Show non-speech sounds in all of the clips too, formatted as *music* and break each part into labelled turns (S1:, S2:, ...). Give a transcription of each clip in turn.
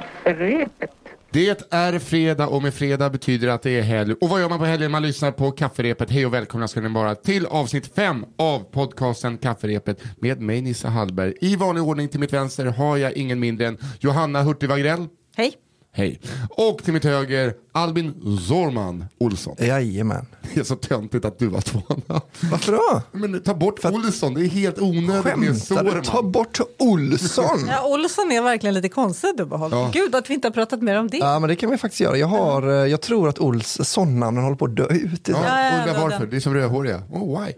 S1: kafferepet.
S2: Det är fredag och med fredag betyder det att det är helg. Och vad gör man på helgen? Man lyssnar på Kafferepet. Hej och välkomna ska ni vara till avsnitt 5 av podcasten Kafferepet med mig Nissa Hallberg. I vanlig ordning till mitt vänster har jag ingen mindre än Johanna Hurtig Wagrell.
S3: Hej.
S2: Hej. Och till mitt höger Albin Zorman Olsson.
S4: Jajamän.
S2: Det är så töntigt att du var tvåan.
S4: Varför då?
S2: *laughs* Men ta bort Olsson, det är helt onödigt med
S4: Skämtar du?
S2: Zorman.
S4: Ta bort Olsson.
S3: Ja, Olsson är verkligen lite konstig dubbelhåll.
S2: Ja.
S3: Gud att vi inte har pratat mer om det.
S4: Ja, men det kan vi faktiskt göra. Jag, har, eh, jag tror att Olsson-namnen håller på att dö ut.
S2: Ja,
S4: Ja.
S3: ja,
S2: undrar
S3: ja,
S2: varför,
S3: den.
S2: det är som rödhåriga. Oh, why?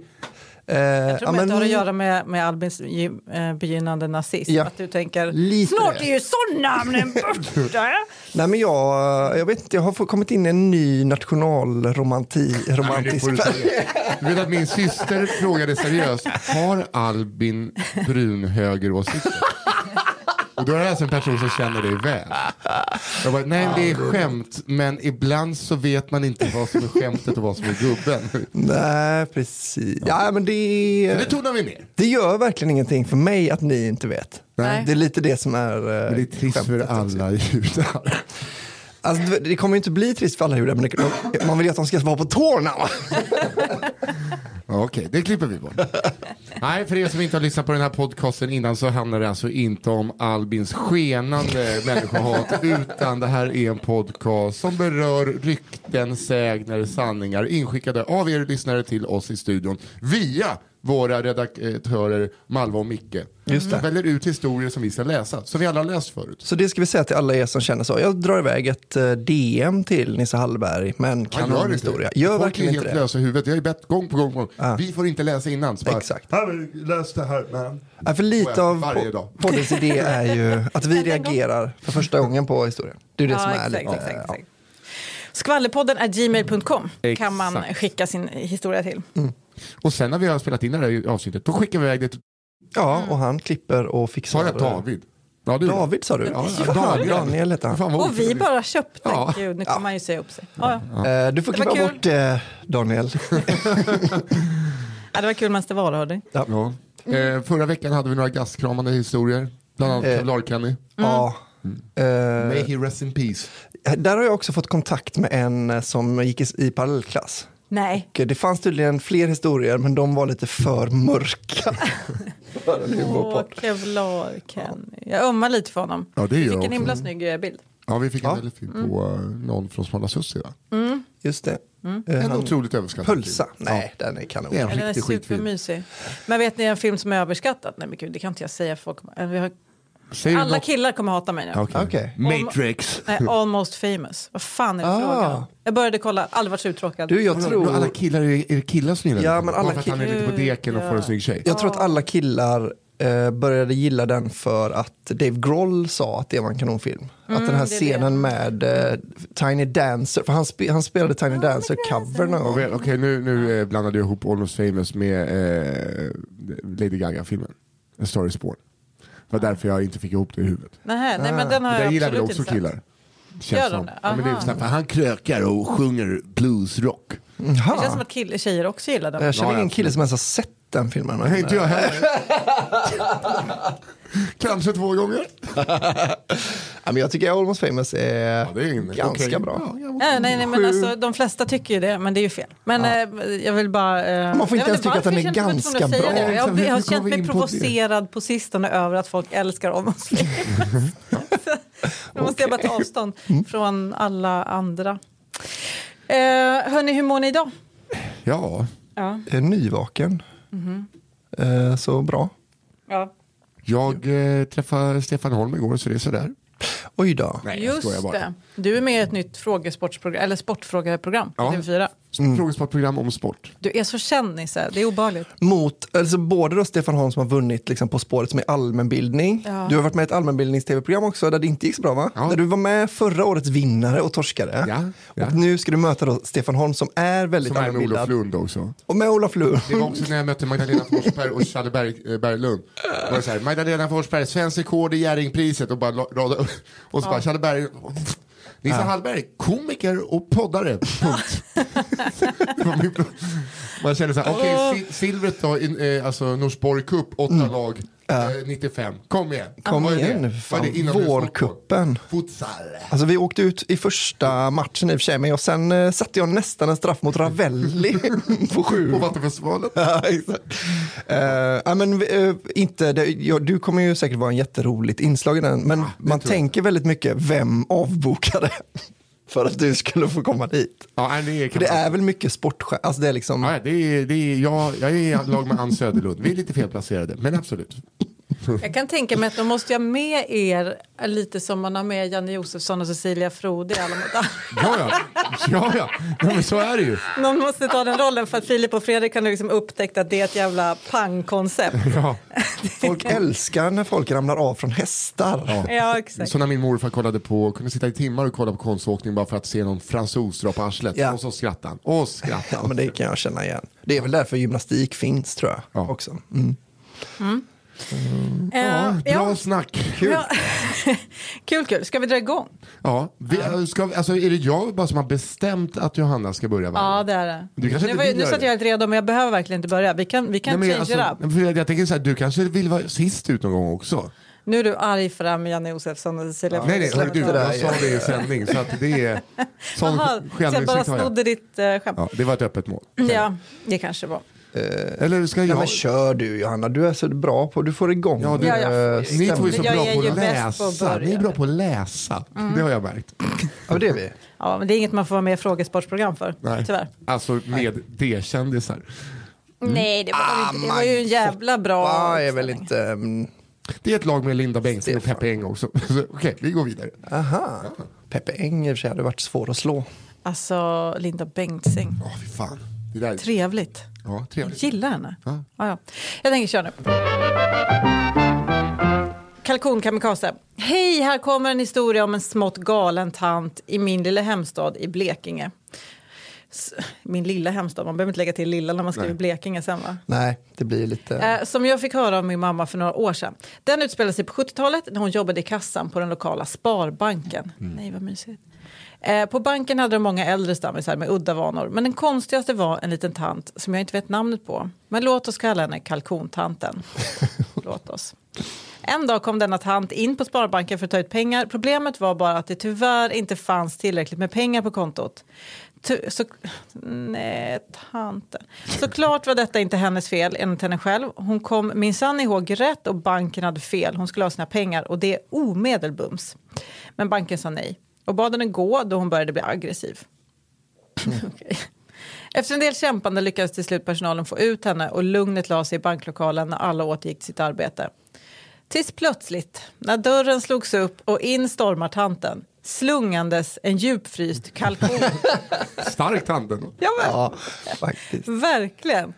S4: Eh, jag
S3: Jag tror det inte har att göra med, med Albins ju- eh, begynnande nazism.
S4: Ja.
S3: Att du tänker,
S4: Lite
S3: snart
S4: det.
S3: är ju sådana borta.
S4: Nej, men jag, jag vet inte, jag har fått- kommit in i en ny
S2: Men det får
S4: nationalromantism.
S2: du säga. Du vet att min syster frågade seriöst, har Albin brun högeråsikter? Och då är det alltså en person som känner dig väl. Jag bara, nej det är skämt, men ibland så vet man inte vad som är skämtet och vad som är gubben.
S4: Nej, precis. Ja, men det,
S2: Men det tonar vi ner.
S4: det gör verkligen ingenting för mig att ni inte vet.
S3: Nej.
S4: Det är lite det som är... eh, typ.
S2: Men det är trist för alla judar.
S4: Alltså, det- det kommer ju inte bli trist för alla judar, men det, man vill ju att de ska vara på tårna. va?
S2: Ja, Okej, det klipper vi bort. *laughs* Nej, för er som inte har lyssnat på den här podcasten innan så handlar det alltså inte om Albins skenande *laughs* människohat utan det här är en podcast som berör rykten, sägner, sanningar inskickade av er lyssnare till oss i studion via våra redaktörer Malva och Micke. Just det. väljer ut historier som vi ska läsa, som vi alla har läst förut.
S4: Så det ska vi säga till alla er som känner så. Jag drar iväg ett eh, DM till Nisse Hallberg, men
S2: Man
S4: kan en historia. Gör
S2: Folk
S4: verkligen
S2: är
S4: inte
S2: helt
S4: det.
S2: lösa i huvudet. Jag har ju bett gång på gång på gång.
S4: Ah.
S2: Vi får inte läsa innan. Så bara,
S4: Exakt.
S2: "Här, Läs det här man.
S4: Ja, för
S2: Får
S4: lite
S2: jag
S4: av
S2: varje
S4: po-
S2: dag.
S4: poddens idé är ju att vi reagerar för första gången på historien. Det är det som
S3: Ja,
S4: är
S3: exakt,
S4: lite...
S3: exakt,
S4: ja.
S3: exakt. Skvallerpodden är gmail.com kan man
S2: Exakt.
S3: skicka sin historia till.
S2: Och sen när vi har spelat in det här avsnittet, då skickar vi iväg det till
S4: Ja, och han klipper och fixar.
S2: Sa jag David? Ja, du.
S4: David sa du?
S2: Ja,
S4: Ja,
S2: Daniel.
S4: Daniel hette han.
S2: Fan, vad
S3: Och vi
S2: otrevligt.
S3: bara köpte.
S2: Ja.
S3: Gud, nu kommer han ju säga upp sig. Ja. Ja.
S4: Eh, Du får
S3: Det var
S4: klippa
S3: kul. Mm.
S4: bort eh, Daniel.
S3: *laughs* Ja, det var kul medan det var, hörde.
S2: Ja.
S3: Mm.
S2: Eh, förra veckan hade vi några gastkramande historier. Bland annat
S4: Eh.
S2: Kevlar-Kenny.
S4: Ja.
S3: Mm.
S4: Eh,
S2: May he rest in peace.
S4: Där har jag också fått kontakt med en eh, som gick i, i parallellklass.
S3: Nej.
S4: Och, eh, Det fanns tydligen fler historier, men de var lite för
S3: *laughs*
S4: mörka. För en
S3: Åh,
S4: humorpodd.
S3: Kevlar Kenny. Jag ömmar lite för honom.
S2: Ja, det gör jag
S3: Fick en Mm.
S2: också.
S3: himla snygg eh, bild.
S2: Ja, vi fick en
S4: Ja.
S2: väldigt fin på eh, någon från Smala Sussie, va?
S4: Just det.
S3: Mm.
S4: Eh,
S2: En
S4: han-
S2: otroligt överskattad
S4: Pölsa?
S2: film.
S4: Nej, den är kanon.
S2: Det är en
S3: Den är
S2: riktig skitfilm.
S3: supermysig. Men vet ni en film som är överskattad? Nej men gud, det kan inte jag säga. Folk, eh, vi har,
S2: Säger du
S3: alla
S2: något?
S3: killar kommer hata mig nu.
S2: Okej.
S4: Okej.
S2: Matrix.
S3: Nej, almost famous. Vad fan är det
S4: Ah.
S3: frågan om? Jag började kolla, aldrig varit så uttråkad.
S4: Du, jag
S2: Tror... Alla
S4: tror,
S2: killar, är är det killar som gillar
S4: Ja,
S2: den?
S4: men alla
S2: Bara för att han är lite på deken och får en snygg tjej.
S4: jag tror att alla killar eh, började gilla den för att Dave Grohl sa att det var en kanonfilm. att den här
S3: Mm, det är
S4: scenen med eh, Tiny Dancer, för han, spe, han spelade Tiny Dancer-cover någon gång.
S2: Okej, okej, nu, nu eh, blandade jag ihop Almost famous med eh, Lady Gaga-filmen. A Star is born. Det var därför jag inte fick ihop det i huvudet.
S3: Nähä, nej men den har
S2: Ah. Det där
S3: jag
S2: gillar väl
S3: absolut
S2: också
S3: inte sett.
S2: killar? Känns
S3: Gör de
S2: som.
S3: det?
S2: Ja, men det är
S3: Aha.
S2: snabbt, för han krökar och sjunger bluesrock.
S3: Det känns som att kill- tjejer också gillar den.
S4: Jag känner
S2: Ja,
S4: ingen
S2: absolut.
S4: kille som ens har sett den filmen.
S2: Nej, inte jag heller. Kanske två gånger.
S4: Ja, men jag tycker Almost famous är,
S2: det är ingen-
S4: ganska
S2: okej.
S4: bra.
S2: Ja,
S3: Nej, nej, nej, men
S2: Sju.
S3: alltså, de flesta tycker ju det, men det är ju fel. Men eh, jag vill bara... Eh,
S4: Man får inte
S3: jag vet
S4: ens tycka att den
S3: varför
S4: är
S3: jag känner mig tvungen
S4: ganska
S3: att säga
S4: bra.
S3: det.
S2: Exakt, hur
S3: Jag, jag har
S2: kom
S3: känt
S2: vi in
S3: mig
S2: på det?
S3: provocerad på sistone över att folk älskar Almost famous. Nu måste jag bara ta avstånd från alla andra. Eh, hörni, hur mår ni idag?
S2: Ja,
S3: Ja.
S4: Eh, Nyvaken.
S3: Mhm.
S4: Eh, så bra.
S3: ja.
S2: jag eh, träffade Stefan Holm igår så det är sådär.
S4: Oj då.
S2: Nej, jag skojar
S3: Just
S2: bara.
S3: det. Du är med i ett nytt frågesportsprogram, eller sportfrågeprogram på
S2: Ja.
S3: TV4.
S2: Frågesportprogram om sport.
S3: Du är så känd Nisse, det är obehagligt.
S4: mot, alltså både då Stefan Holm som har vunnit liksom På spåret som är allmänbildning.
S3: Ja.
S4: Du har varit med i ett allmänbildnings-tv-program också där det inte gick så bra va?
S2: Ja.
S4: Där du var med förra årets vinnare och torskare.
S2: Ja, ja.
S4: Och nu ska du möta då Stefan Holm som är väldigt
S2: Som är med Olof
S4: allmänbildad.
S2: Lund också.
S4: Och med Olof Lund.
S2: Det var också när jag mötte Magdalena Forsberg och Challe Berg, eh, Berglund. Då var det så här, Magdalena Forsberg, svensk rekord i Jerringpriset och bara la- rada upp. Och så bara Challe Berg. Nissa Hallberg, komiker och poddare. Punkt. *laughs* Det var min pro- Man känner så här, okej, si- silvret då, in, eh, alltså Norsborg Cup, åtta lag. eh, 95. Kom igen.
S4: Mm. Kom
S2: Vad är
S4: igen
S2: det?
S4: nu för
S2: Vad är
S4: fan.
S2: det? Inomhusfotboll?
S4: Vårkuppen.
S2: Futsal.
S4: Alltså vi åkte ut i första matchen i och för sig, men jag, sen eh, satte jag nästan en straff
S2: *laughs*
S4: mot Ravelli på sju.
S2: På Vattenfestivalen.
S4: *laughs* Ja, exakt. Eh, ja, men, eh, inte, det, ja, du kommer ju säkert vara en jätteroligt inslag i den, men man
S2: tror jag.
S4: tänker väldigt mycket, vem avbokade *laughs* för att du skulle få komma dit?
S2: Ja, nej, det är,
S4: För det är väl mycket sportchef, alltså det är liksom,
S2: Ja, det är, det är, jag, jag är i lag med Ann Söderlund. Vi är lite felplacerade, men absolut.
S3: Jag kan tänka mig att de måste jag med er lite som man har med Janne Josefsson och Cecilia Frode i Alla mot alla.
S2: Ja, ja. ja, ja. Nej, men så är det ju.
S3: *laughs* Någon måste ta den rollen för att Filip och Fredrik har liksom upptäckt att det är ett jävla
S2: *laughs*
S3: pangkoncept.
S2: Ja. *laughs*
S4: folk älskar när folk ramlar av från hästar.
S3: Ja, exakt.
S2: Så när min morfar kollade på, kunde sitta i timmar och kolla på konståkning bara för att se någon fransos dra på arslet.
S4: Ja.
S2: Och så skrattade han. Och
S4: Ja,
S2: skrattade
S4: men det kan jag känna igen. Det är väl därför gymnastik finns tror jag.
S2: Ja.
S4: också. Mm.
S3: Eh,
S2: han. Bra snack.
S4: Kul.
S3: Ja. *laughs* kul, kul. Ska vi dra igång?
S2: Ja, vi, ska, vi- alltså, är det jag bara som har bestämt att Johanna ska börja? varje
S3: Ja,
S2: gång?
S3: det är det.
S2: Du kanske
S3: nu
S2: inte
S3: var, ju-
S2: vill
S3: nu
S2: göra
S3: satt
S2: det.
S3: jag helt redo, men jag behöver verkligen inte börja. Vi kan, vi kan
S2: Nej, men
S3: change it up.
S2: alltså, för jag, jag tänker så här, du kanske vill vara sist ut någon gång också?
S3: Nu är du arg för det här med Janne Josefsson och Cecilia Frode.
S2: nej, nej, hör
S4: släpp
S2: du,
S4: det där,
S2: jag sa det i sändning. Så att det
S3: *laughs*
S2: är sån
S3: Jaha, så jag bara
S2: självinsikt har jag.
S3: snodde ditt eh, skämt.
S2: Ja, det var ett öppet mål.
S3: Ja, det kanske var.
S2: Eller ska
S4: Ja,
S2: jag?
S4: men kör du Johanna, du är så bra på, du får igång
S2: Ja, du,
S3: Ja, ja.
S4: eh,
S2: Ni två är så
S3: Jag
S2: bra
S3: är
S2: på
S3: ju
S2: att
S3: bäst på att
S2: läsa. Ni är
S3: börja.
S2: bra på att läsa.
S3: Mm.
S2: Det har jag märkt.
S4: Ja, det är vi.
S3: Ja, men det är inget man får vara med i frågesportprogram för,
S2: Nej.
S3: tyvärr.
S2: Alltså med D-kändisar.
S3: Mm. Nej, det var, väl inte. det var
S4: man
S3: ju en jävla bra
S4: Ja, är väl
S3: uppställning.
S4: inte... mm,
S2: Det är ett lag med Linda Bengtzing och
S4: Stefan.
S2: Peppe Eng också. *laughs* Så, Okej, vi går vidare.
S4: Aha. Peppe Eng i och för sig hade varit svår att slå.
S3: Alltså, Linda Bengtzing.
S2: Åh, fy fan. Det där är...
S3: Trevligt.
S2: Ja,
S3: Jag
S2: trevligt.
S3: gillar henne.
S2: Ja.
S3: Ja. Ja, Jag tänker köra nu. Kalkonkamikaze. Hej, här kommer en historia om en smått galen tant i min lilla hemstad i Blekinge. S- Min lilla hemstad, man behöver inte lägga till lilla när man skriver
S2: Nej.
S3: Blekinge sen va?
S4: Nej, det blir lite...
S3: Eh, som jag fick höra av min mamma för några år sedan. Den utspelade sig på 70-talet när hon jobbade i kassan på den lokala Sparbanken. Nej, vad mysigt. Eh, på banken hade de många äldre stammisar med udda vanor. Men den konstigaste var en liten tant som jag inte vet namnet på. Men låt oss kalla henne kalkontanten. låt oss. En dag kom denna tant in på Sparbanken för att ta ut pengar. Problemet var bara att det tyvärr inte fanns tillräckligt med pengar på kontot. Ty- så, nej, tanten. Såklart var detta inte hennes fel, enligt henne själv. Hon kom minsann ihåg rätt och banken hade fel. Hon skulle ha sina pengar och det omedelbums. Men banken sa nej och bad henne gå då hon började bli aggressiv. Okej. Efter en del kämpande lyckades till slut personalen få ut henne och lugnet la sig i banklokalen när alla återgick sitt arbete. Tills plötsligt, när dörren slogs upp och in stormar tanten slungandes en djupfryst kalkon.
S2: Starkt handen.
S3: ja, men,
S4: Ja, faktiskt. *laughs*
S3: Verkligen.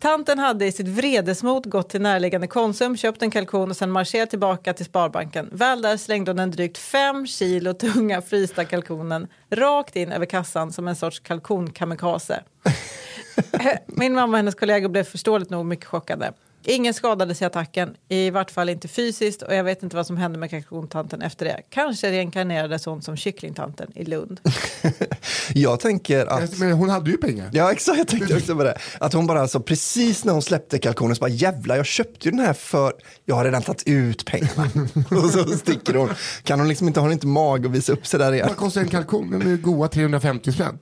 S3: Tanten hade i sitt vredesmod gått till närliggande Konsum, köpt en kalkon och sen marscherat tillbaka till Sparbanken. Väl där slängde hon den drygt fem kilo tunga frysta kalkonen rakt in över kassan som en sorts kalkonkamikaze. Eh, Min mamma och hennes kollegor blev förståeligt nog mycket chockade. Ingen skadades i attacken, i vart fall inte fysiskt och jag vet inte vad som hände med kalkontanten efter det. Kanske reinkarnerades hon som kycklingtanten i Lund.
S4: Jag tänker att...
S2: Men hon hade ju pengar.
S4: Ja, exakt. Jag tänkte också på det. Att hon bara, alltså, precis när hon släppte kalkonen så bara jävlar, jag köpte ju den här för jag har redan tagit ut pengarna. *laughs* och så sticker hon. Kan hon liksom inte, har hon inte mag att visa upp sig där igen?
S2: Vad kostar en kalkon? Den är goa 350 spänn.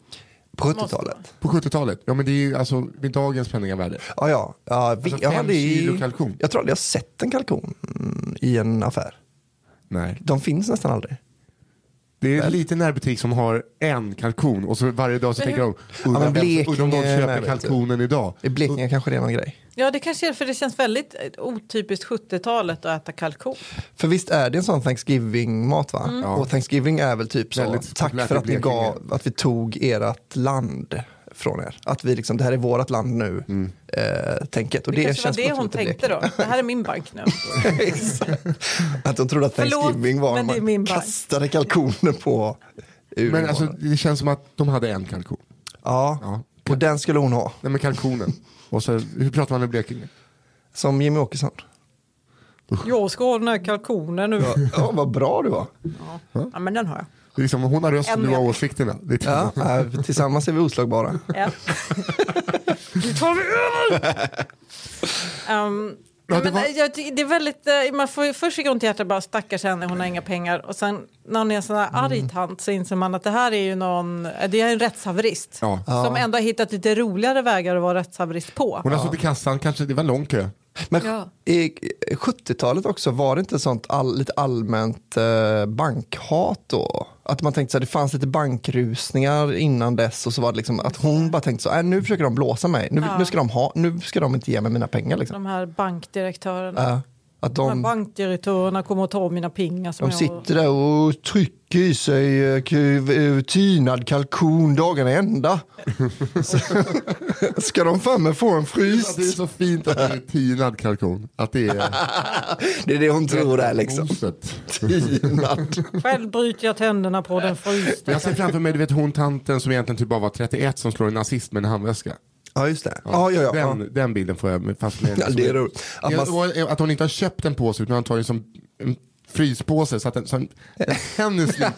S4: På 70-talet.
S2: På 70-talet. Ja men det är ju alltså med dagens penningvärde.
S4: Ja, ja. ja vi,
S2: Alltså,
S4: jag,
S2: fem
S4: hade ju-
S2: kilo kalkon.
S4: jag tror aldrig jag sett en kalkon mm, i en affär.
S2: Nej.
S4: De finns nästan aldrig.
S2: Det är en liten närbutik som har en kalkon och så varje dag så tänker de, undrar
S4: men
S2: vem som-
S4: Blekinge
S2: undrar om någon köper
S4: med, vet du.
S2: kalkonen idag.
S4: I Blekinge kanske det är någon grej.
S3: Ja, det kanske är för det känns väldigt eh, otypiskt 70-talet att äta kalkon.
S4: För visst är det en sån Thanksgiving-mat va?
S3: Mm.
S4: Och Thanksgiving är väl typ så,
S2: Väldigt
S4: tack
S2: populärt
S4: för
S2: i
S4: att, ni
S2: Blekinge.
S4: gav, att vi tog ert land från er. Att vi liksom, det här är vårt land nu, eh, tänket. Och
S3: Det,
S4: det
S3: kanske var
S4: känns
S3: det hon
S4: *laughs*
S3: tänkte då. Det här är min bank nu.
S4: att de trodde att
S3: Förlåt,
S4: Thanksgiving var när
S3: men det är min
S4: man
S3: bank.
S4: kastade kalkoner på ur
S2: Men alltså det känns som att de hade en kalkon.
S4: ja.
S2: Ja.
S4: och den skulle hon ha,
S2: Nej men kalkonen. Och så, hur pratar man i Blekinge?
S4: som Jimmy Åkesson.
S3: Jag ska ha den här kalkonen nu.
S4: Ja, vad bra du var.
S3: Ja, men den har jag.
S2: Det är liksom, hon har rösten,
S3: En
S2: du har
S3: meter.
S2: åsikterna. Det är typ
S4: Ja, eh, tillsammans är vi oslagbara.
S3: Ja. Nu tar vi över! Ehm,
S2: Ja, det
S3: men,
S2: var-
S3: eh, jag, ty- det är väldigt, eh, man får ju först gå ont i hjärtat bara stackars henne, hon har inga pengar. Och sen när hon är en sån här arg tant så inser man att det här är ju någon, eh, det är en rättshaverist.
S2: Ja.
S3: Som ändå har hittat lite roligare vägar att vara rättshaverist på.
S2: Hon har suttit i kassan, kanske, det var en lång kö.
S4: Men
S3: Ja.
S4: i 70-talet också, var det inte sånt all, lite allmänt eh, bankhat då? Att man tänkte så här, det fanns lite bankrusningar innan dess och så var det liksom att hon bara tänkte så här, "Äh, nu försöker de blåsa mig, nu, nu, ska de ha, nu ska de inte ge mig mina pengar liksom.
S3: De här bankdirektörerna.
S4: Eh, att
S3: De här
S4: de,
S3: bankdirektörerna kommer att ta mina pengar. Som
S4: de
S3: jag-
S4: sitter där och trycker i sig eh, k- eh, tinad kalkon dagarna i ända. Så- *laughs* ska de fan med få en
S2: Ja,
S4: fryst?
S2: Det är så fint att det är *laughs* tinad kalkon. Att det är
S4: *laughs* Det är det hon *laughs* tror är liksom.
S2: moset.
S4: Tinad.
S3: Själv bryter jag tänderna på den frysta.
S2: Men Jag ser framför mig, du vet hon tanten som egentligen typ bara var 31 som slår en nazist med en handväska.
S4: Ja, just det. Ja, ja, ja.
S2: Den, den bilden får jag fast med.
S4: Ja, det är roligt. Att man-
S2: Ja, och Att hon inte har köpt en påse utan hon har tagit som en fryspåse så att den, så den, den tänds
S4: *laughs*
S2: lite.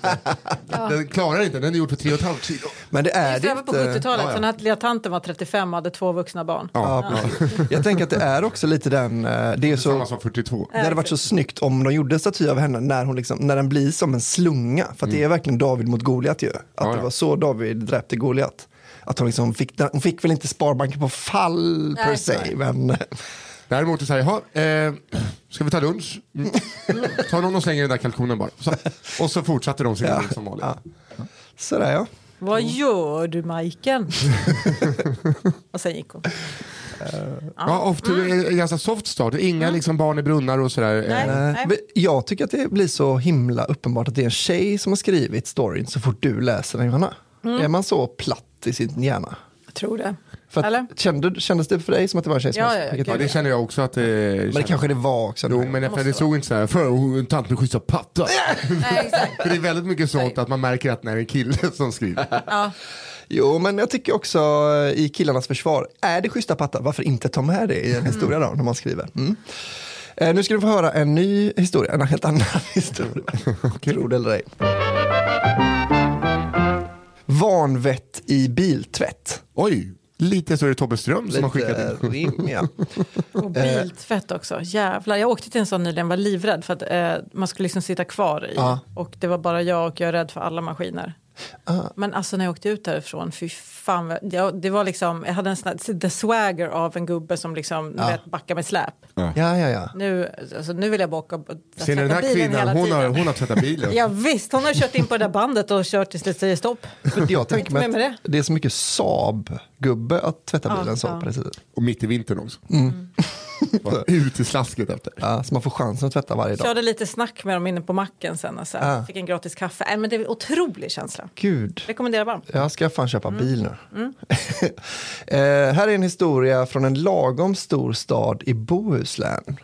S2: Den klarar inte, den är gjord för 3,5 kilo.
S4: Men det är
S3: Det
S4: det
S3: är på
S4: inte.
S3: 70-talet,
S2: Ja, ja.
S3: den här lilla tanten var 35 och hade två vuxna barn.
S4: Ja, precis. Jag tänker att det är också lite den, eh, det är
S2: Samma
S4: så,
S2: som 42.
S4: det hade varit så snyggt om de gjorde en staty av henne när, hon liksom, när den blir som en slunga. För att det är verkligen David mot Goliat ju. Att
S2: Ja,
S4: det
S2: ja.
S4: var så David dräpte Goliat. Att hon, liksom fick, den- hon fick väl inte Sparbanken på fall per
S3: Nej.
S4: se, men eh,
S2: Däremot är det så här, jaha, eh, ska vi ta lunch?
S4: *laughs*
S2: Mm. Ta någon och slänger den där kalkonen bara. Så, och så fortsatte de sin
S4: Ja.
S2: liv som vanligt.
S4: Ja. sådär ja.
S3: Vad gör du
S4: *laughs*
S3: Majken? och sen gick hon.
S4: Eh,
S2: Ja, ofta är det en ganska soft start. Inga liksom barn i brunnar och sådär.
S3: Nej.
S2: Eh,
S4: Eh, men Jag tycker att det blir så himla uppenbart att det är en tjej som har skrivit storyn så fort du läser den Johanna.
S3: Mm.
S4: Är man så platt i sin hjärna?
S3: Jag tror det.
S4: För
S3: Eller?
S4: att, kände, kändes det för dig som att det var en tjej som
S3: Ja,
S4: hade
S3: ja, ja,
S4: skrivit
S2: Ja, det känner jag också att eh,
S4: Men det kanske det var också.
S2: Jo, men det, det såg inte så här, för hon- tant med schyssta patta.
S3: Nej, exakt.
S2: För det är väldigt mycket sånt att man märker att när det är en kille *laughs* som skriver.
S3: Ja.
S4: Jo, men jag tycker också eh, i killarnas försvar, är det schyssta patta, varför inte ta med det
S3: Mm.
S4: i en historia då, när man skriver? Mm. Eh, nu ska du få höra en ny historia, en helt annan *laughs* historia. Tro det eller ej. Vanvett i biltvätt.
S2: Oj, lite så är det Tobbe Ström som har skickat in.
S4: rim, ja.
S3: Och
S2: Eh.
S3: biltvätt också. Jävlar. Jag åkte till en sån nyligen, var livrädd för att eh, man skulle liksom sitta kvar i.
S4: Ja.
S3: Och det var bara jag och jag är rädd för alla maskiner.
S2: Ah.
S3: Men alltså när jag åkte ut därifrån, fy fan. vad- Jag, det var liksom, jag hade en sån här, the swagger av en gubbe som liksom, du vet, backar med släp.
S4: ja, ja, ja.
S3: Nu, alltså, nu vill jag baka och
S2: Ser ni den här kvinnan, hon har, hon har tvättat bilen.
S3: *laughs* Ja, visst, hon har kört in på det där bandet och kört tills det säger stopp.
S4: Men Jag tänker mig
S3: med med
S4: att det är så mycket Saab-gubbe att tvätta
S3: Ja,
S4: bilen så
S3: ja.
S4: på det sättet.
S2: Och mitt i vintern också.
S3: Mm.
S2: *laughs* Bara Ut i slasket efter.
S4: Ja, så man får chansen att tvätta varje dag.
S3: Körde lite snack med dem inne på macken sen. Och så här. Fick en gratis kaffe. Äh, men det är en otrolig känsla.
S4: Gud.
S3: Rekommenderar varmt.
S4: Jag ska fan köpa bil nu. *laughs* eh, här är en historia från en lagom stor stad i Bohuslän.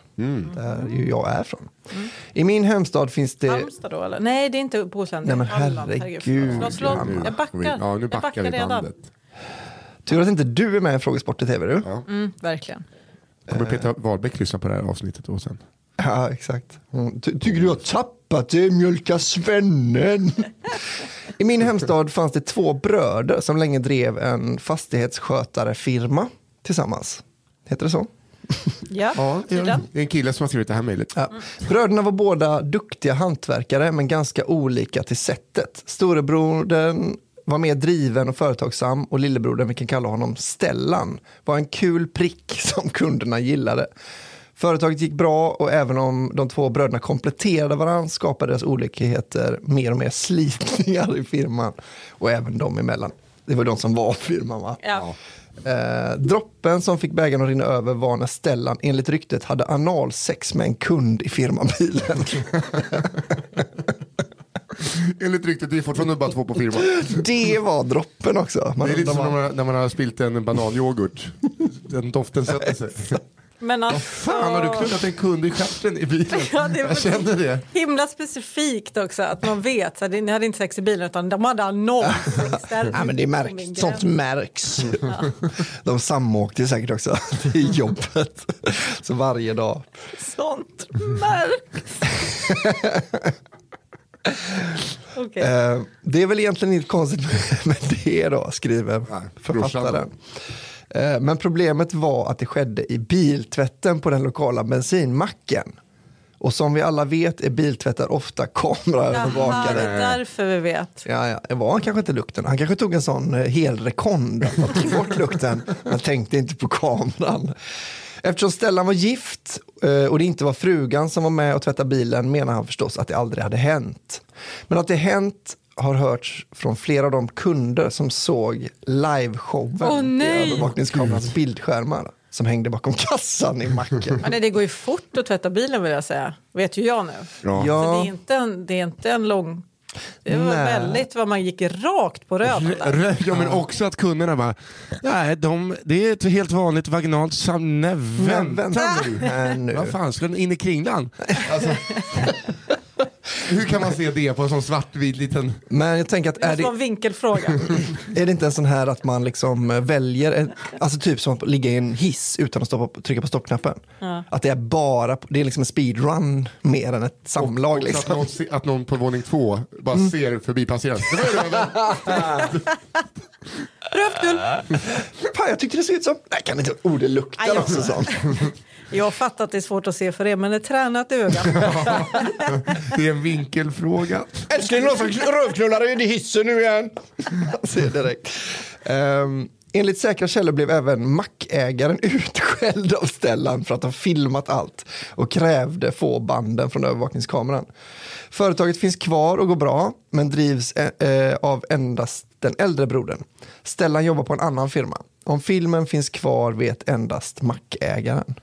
S4: Där ju jag är från. I min hemstad finns det...
S3: Halmstad då eller? Nej, det är inte Bohuslän. det är
S4: Nej, men
S3: Halland. Herregud,
S4: herregud,
S3: förlåt, förlåt,
S2: Nu
S3: förlåt. Jag backar.
S2: Ja, nu
S3: jag
S2: backar
S3: backar
S2: vi
S3: redan.
S2: bandet.
S4: Tur att inte du är med i Frågesport i tv. Du. Ja.
S3: Mm, verkligen.
S2: Kommer Peter Wahlbeck lyssna på det här avsnittet och sen?
S4: exakt. Mm. Ty- Tycker du jag har tappat det, mjölka svennen? I min hemstad fanns det två bröder som länge drev en fastighetsskötarefirma tillsammans. Heter det så?
S3: Ja,
S2: det
S3: tydligen.
S2: är en kille som har skrivit det här mejlet.
S4: Ja. Bröderna var båda duktiga hantverkare men ganska olika till sättet. Storebrodern var mer driven och företagsam och lillebrodern, vi kan kalla honom Stellan, var en kul prick *laughs* som kunderna gillade. Företaget gick bra och även om de två bröderna kompletterade varandra skapade deras olikheter mer och mer slitningar i firman och även dem emellan. Det var de som var firman va?
S3: Ja.
S4: Eh, droppen som fick bägaren att rinna över var när Stellan enligt ryktet hade analsex med en kund
S2: *laughs*
S4: i firmabilen.
S2: Enligt ryktet, det är fortfarande bara två på firman.
S4: Det var droppen också. Man
S2: Det är lite
S4: undrar
S2: som när
S4: vad-
S2: man, när man har spilt en bananyoghurt. Den doften sätter
S3: *laughs*
S2: sig.
S3: Men alltså,
S2: Fan har du knullat en kund i stjärten i bilen?
S3: Ja, det är
S2: Jag känner det.
S3: himla specifikt också att man vet. Så här, ni hade inte sex i bilen utan de hade annons istället.
S4: Ja, men det
S3: Min
S4: märks. Sånt
S3: gräns.
S4: märks. De samåkte säkert också *laughs* till jobbet. Så varje dag.
S3: Sånt märks. Okej.
S4: *laughs* Eh, det är väl egentligen inte konstigt med det då, skriver
S2: Nej, brorsan
S4: författaren. Eh, Men problemet var att det skedde i biltvätten på den lokala bensinmacken. Och som vi alla vet är biltvättar ofta
S3: Jaha, det
S4: kameraövervakade.
S3: är därför vi vet.
S4: Ja, ja, det var han kanske inte lukten. Han kanske tog en sån eh, helrekond och tog bort lukten. Han tänkte inte på kameran. Eftersom Stellan var gift eh, och det inte var frugan som var med och tvättade bilen menar han förstås att det aldrig hade hänt. Men att det hänt har hörts från flera av de kunder som såg liveshowen
S3: Åh,
S4: i
S3: nej.
S4: övervakningskamerans bildskärmar som hängde bakom kassan i
S3: *laughs*
S4: macken.
S3: Men nej, det går ju fort att tvätta bilen vill jag säga. Vet ju jag nu.
S2: Ja.
S3: Så det, är inte en, det är inte en lång... Det var
S4: Nej.
S3: väldigt vad man gick rakt på röd.
S2: Rö- Ja, men också att kunderna bara, nej, de, det är ett helt vanligt vaginalt sam... Nej,
S4: Men
S2: vänta nu.
S4: här nu.
S2: Vad fan, skulle den in i kringlan? Alltså, *laughs* hur kan man se det på en sån svartvit liten...
S4: Men jag tänker att
S3: Det
S4: är
S3: måste
S4: det,
S3: vara en
S4: *laughs*
S3: vinkelfråga.
S4: Är det inte en sån här att man liksom eh, väljer, en, alltså typ som att ligga i en hiss utan att stoppa, trycka på stoppknappen? Att det är bara, det är liksom en speedrun mer än ett samlag.
S2: Så att
S4: Liksom.
S2: någon, se- att någon på våning två bara
S3: Mm.
S2: ser förbipasserande. Det var ju röven.
S3: Rövknull!
S4: Fan, jag tyckte det såg ut som, nej kan inte, oh det
S3: Aj,
S4: luktar
S3: ja.
S4: också sånt.
S3: Jag fattar att det är svårt att se för det, men ett tränat öga.
S4: *laughs*
S2: Det är en
S3: *laughs*
S2: vinkelfråga.
S4: Älskling, någon som rövknullar in i hissen nu *laughs* igen. Ser direkt. Ehm, enligt säkra källor blev även mackägaren *laughs* utskälld av Stellan för att ha filmat allt och krävde få banden från övervakningskameran. Företaget finns kvar och går bra, men drivs eh, eh, av endast den äldre brodern. Stellan jobbar på en annan firma. Om filmen finns kvar vet endast mackägaren.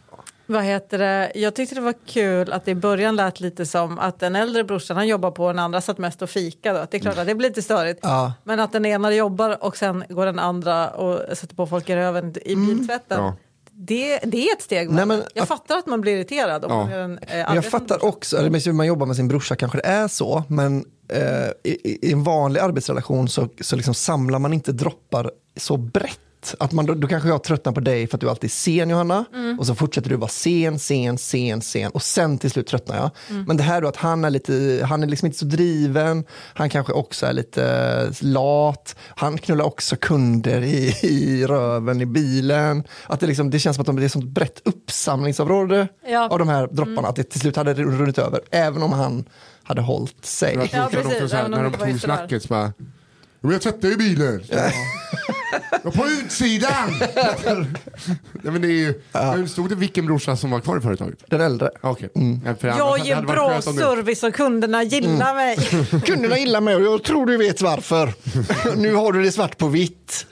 S3: Vad heter det? Jag tyckte det var kul att det i början lät lite som att den äldre brorsan han jobbar på och den andra satt mest och fikade. Att Det är klart att det blir lite störigt.
S4: Ja.
S3: Men att den ena jobbar och sen går den andra och sätter på folk i röven i biltvätten.
S2: Ja.
S3: Det, det är ett steg.
S4: Mm. Nej, men-
S3: jag fattar att man blir irriterad. Om
S2: Ja.
S3: man gör en, eh,
S4: Men jag
S3: arbetande
S4: fattar
S3: brorsa.
S4: också, eller hur man jobbar med sin brorsa kanske det är så, men eh, i, i en vanlig arbetsrelation så, så liksom samlar man inte droppar så brett. Att man, då, då kanske jag tröttnar på dig för att du alltid är sen Johanna
S3: Mm.
S4: och så fortsätter du vara sen, sen, sen, sen och sen till slut tröttnar jag.
S3: Mm.
S4: Men det här då att han är, lite, han är liksom inte så driven, han kanske också är lite eh, lat, han knullar också kunder i, *laughs* i röven i bilen. Att det, liksom, det känns som att de, det är ett sånt brett uppsamlingsområde
S3: Ja.
S4: av de här dropparna, att det till slut hade runnit över, även om han hade hållit sig.
S2: Jag tolkar dem
S3: precis,
S2: som så här,
S3: även om
S2: när
S3: det
S2: de
S3: inte var
S2: tog
S3: just det där.
S2: snacket så bara, "Jo, jag tvättar ju bilen. Så bara, "Ja, På utsidan!
S3: *laughs*
S2: Nej, men det är ju, Hur stod det vilken brorsa som var kvar i företaget?
S4: Den äldre.
S2: Okej. Ja, för annars
S3: Jag
S2: hade
S3: ger
S2: det varit
S3: bra
S2: skönt om du- Mm.
S3: service och kunderna
S2: *laughs*
S3: gillar mig.
S4: Kunderna gillar mig och jag tror du vet varför. *laughs* nu har du det svart på vitt.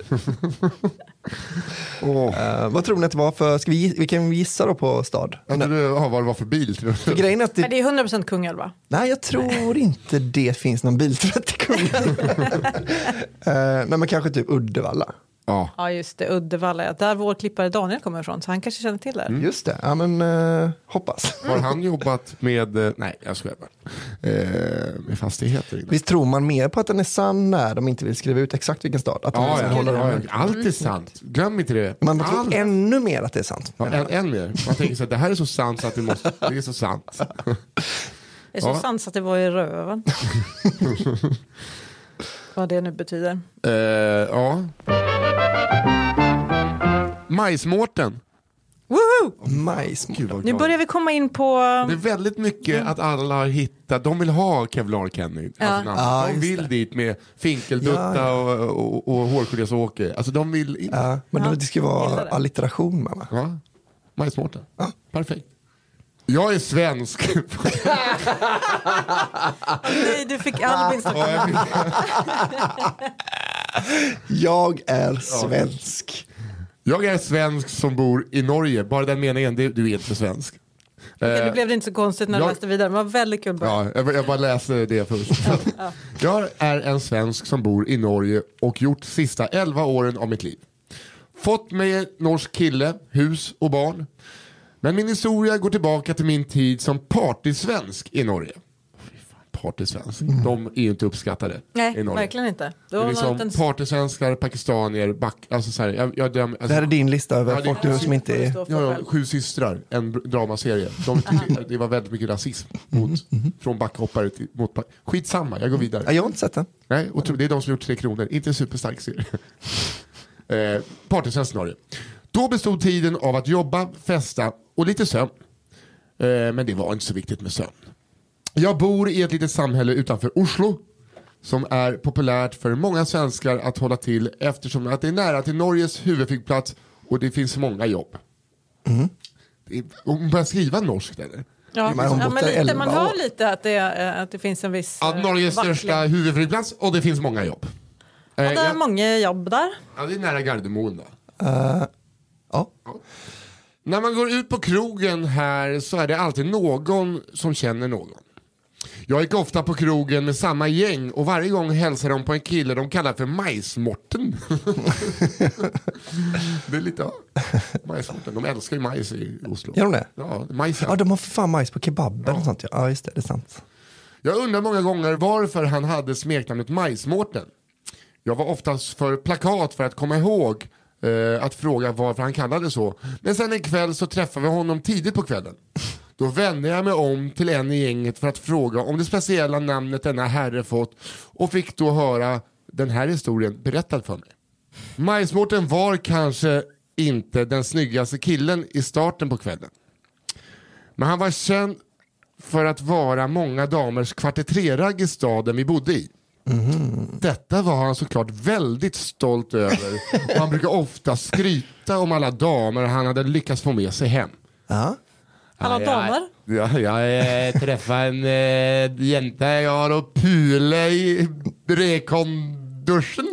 S2: Åh.
S4: Eh, vad tror ni att det var för, ska vi, vi kan gissa då på stad?
S2: Jag trodde du ja, vad det var för bil. tror
S4: För
S2: jag.
S4: grejen är att det,
S3: Men det är 100% Kungälv va?
S4: Nej, jag tror inte det finns någon biltvätt i *laughs* Kungälv. Eh, nej, men kanske typ Uddevalla.
S2: Ja.
S3: Ja just det, Uddevalla. ja. Där vår klippare Daniel kommer ifrån så han kanske känner till det.
S2: Mm.
S3: här.
S4: Just det, ja men eh, hoppas.
S2: Har han jobbat med, eh, nej jag skojar bara, eh, med fastigheter? innan?
S4: Visst tror man mer på att den är sann när de inte vill skriva ut exakt vilken stad? Att de
S2: Ja,
S4: liksom
S2: ja,
S4: håller
S2: ja, ja, Mm. allt är sant. Glöm inte det.
S4: Man tror
S2: Allt.
S4: ännu mer att det är sant.
S2: Ja, en, en mer. Man tänker så här, det här är så sant så att det, måste, det är så sant.
S3: Det är så
S2: Ja.
S3: sant så att det var
S2: *laughs*
S3: i röven. Vad det nu betyder.
S2: Eh, ja. Majsmårten.
S3: Woohoo!
S4: Majs.
S2: Gud, vad
S3: Nu
S2: glad.
S3: börjar vi komma in på...
S2: Det är väldigt mycket att alla har hittat, de vill ha Kevlar Kenny. Alltså namn.
S4: Ja,
S2: de
S4: just
S2: vill dit med finkeldutta
S4: Ja,
S2: och, och, och hårgelésocker. Alltså de vill in.
S4: Ja, men
S3: Ja,
S4: det ska ju
S3: gillar
S4: vara
S3: det.
S4: allitteration mamma.
S2: Ja. Majsmårten. Perfekt. Jag är svensk. *laughs*
S3: Nej, du fick Albins...
S2: Ja, jag vill-
S4: Jag är svensk.
S2: Alltså- Jag är svensk som bor i Norge. Bara den meningen, det- du är inte svensk.
S3: Nu
S2: Eh,
S3: blev det inte så konstigt när du
S2: Jag-
S3: läste vidare. Det var väldigt kul. Ja.
S2: Ja, jag, jag bara läser det först.
S3: *laughs*
S2: Jag är en svensk som bor i Norge och gjort sista 11 åren av mitt liv. Fått mig en norsk kille, hus och barn. Men min historia går tillbaka till min tid som partysvensk i Norge. Fy fan, Partysvensk, de är ju inte uppskattade i
S3: Mm. Nej,
S2: Norge.
S3: verkligen inte. Det
S2: Det
S3: var
S2: är
S3: liksom
S2: liksom
S3: en
S2: partysvenskar, pakistanier, back, alltså så här, jag, jag dömer,
S4: Det
S2: alltså,
S4: här är din lista över
S2: Ja, det-
S4: folk du som inte är...
S3: står för
S2: Ja,
S3: själv.
S2: ja, Sju systrar, en br- dramaserie. De tyckte, det var väldigt mycket rasism mot, från backhoppare till, mot back. Skitsamma, jag går vidare.
S4: Ja, jag har inte sett den.
S2: Nej, och tro- det är de som gjort Tre Kronor, inte en superstark serie. Eh, Partysvenskt scenario. Då bestod tiden av att jobba, festa och lite sömn. Eh, men det var inte så viktigt med sömn. Jag bor i ett litet samhälle utanför Oslo som är populärt för många svenskar att hålla till eftersom att det är nära till Norges huvudflygplats och det finns många jobb. Mm. Hon börjar skriva norskt eller?
S3: Ja,
S4: Man har
S3: ja,
S4: bott
S3: men
S4: där
S3: lite,
S4: elva
S3: man hör
S4: år.
S3: lite att det, är, eh, att det finns en viss...
S2: Att
S3: eh,
S2: Norges
S3: vackling.
S2: största huvudflygplats och det finns många jobb. Eh,
S3: Ja, det är
S2: jag,
S3: många jobb där.
S2: ja, det är nära Gardermoen då.
S4: Ja.
S2: När man går ut på krogen här så är det alltid någon som känner någon. Jag gick ofta på krogen med samma gäng och varje gång hälsade de på en kille de kallar för
S4: *laughs*
S2: Majsmorten. det är lite, ja. Majsmorten, de älskar ju majs i Oslo.
S4: Gör de det?
S2: Ja, majs är
S4: ja, de har för fan majs på kebaben och sånt. ja. Ja, just det. Det är sant.
S2: Jag undrar många gånger varför han hade smeknamnet Majsmårten. Jag var oftast för plakat för att komma ihåg eh, att fråga varför han kallades så. Men sen en kväll så träffade vi honom tidigt på kvällen. Då vände jag mig om till en i gänget för att fråga om det speciella namnet denna herre fått och fick då höra den här historien berättad för mig. Majsmårten var kanske inte den snyggaste killen i starten på kvällen. Men han var känd för att vara många damers kvartetreragg i staden vi bodde i. Detta var han såklart väldigt stolt över och han brukar ofta skryta om alla damer han hade lyckats få med sig hem.
S4: Ja.
S3: Alla
S2: Ja,
S3: damer.
S2: Ja, jag eh, träffade en eh, jänta jag har och pule i rekonduschen.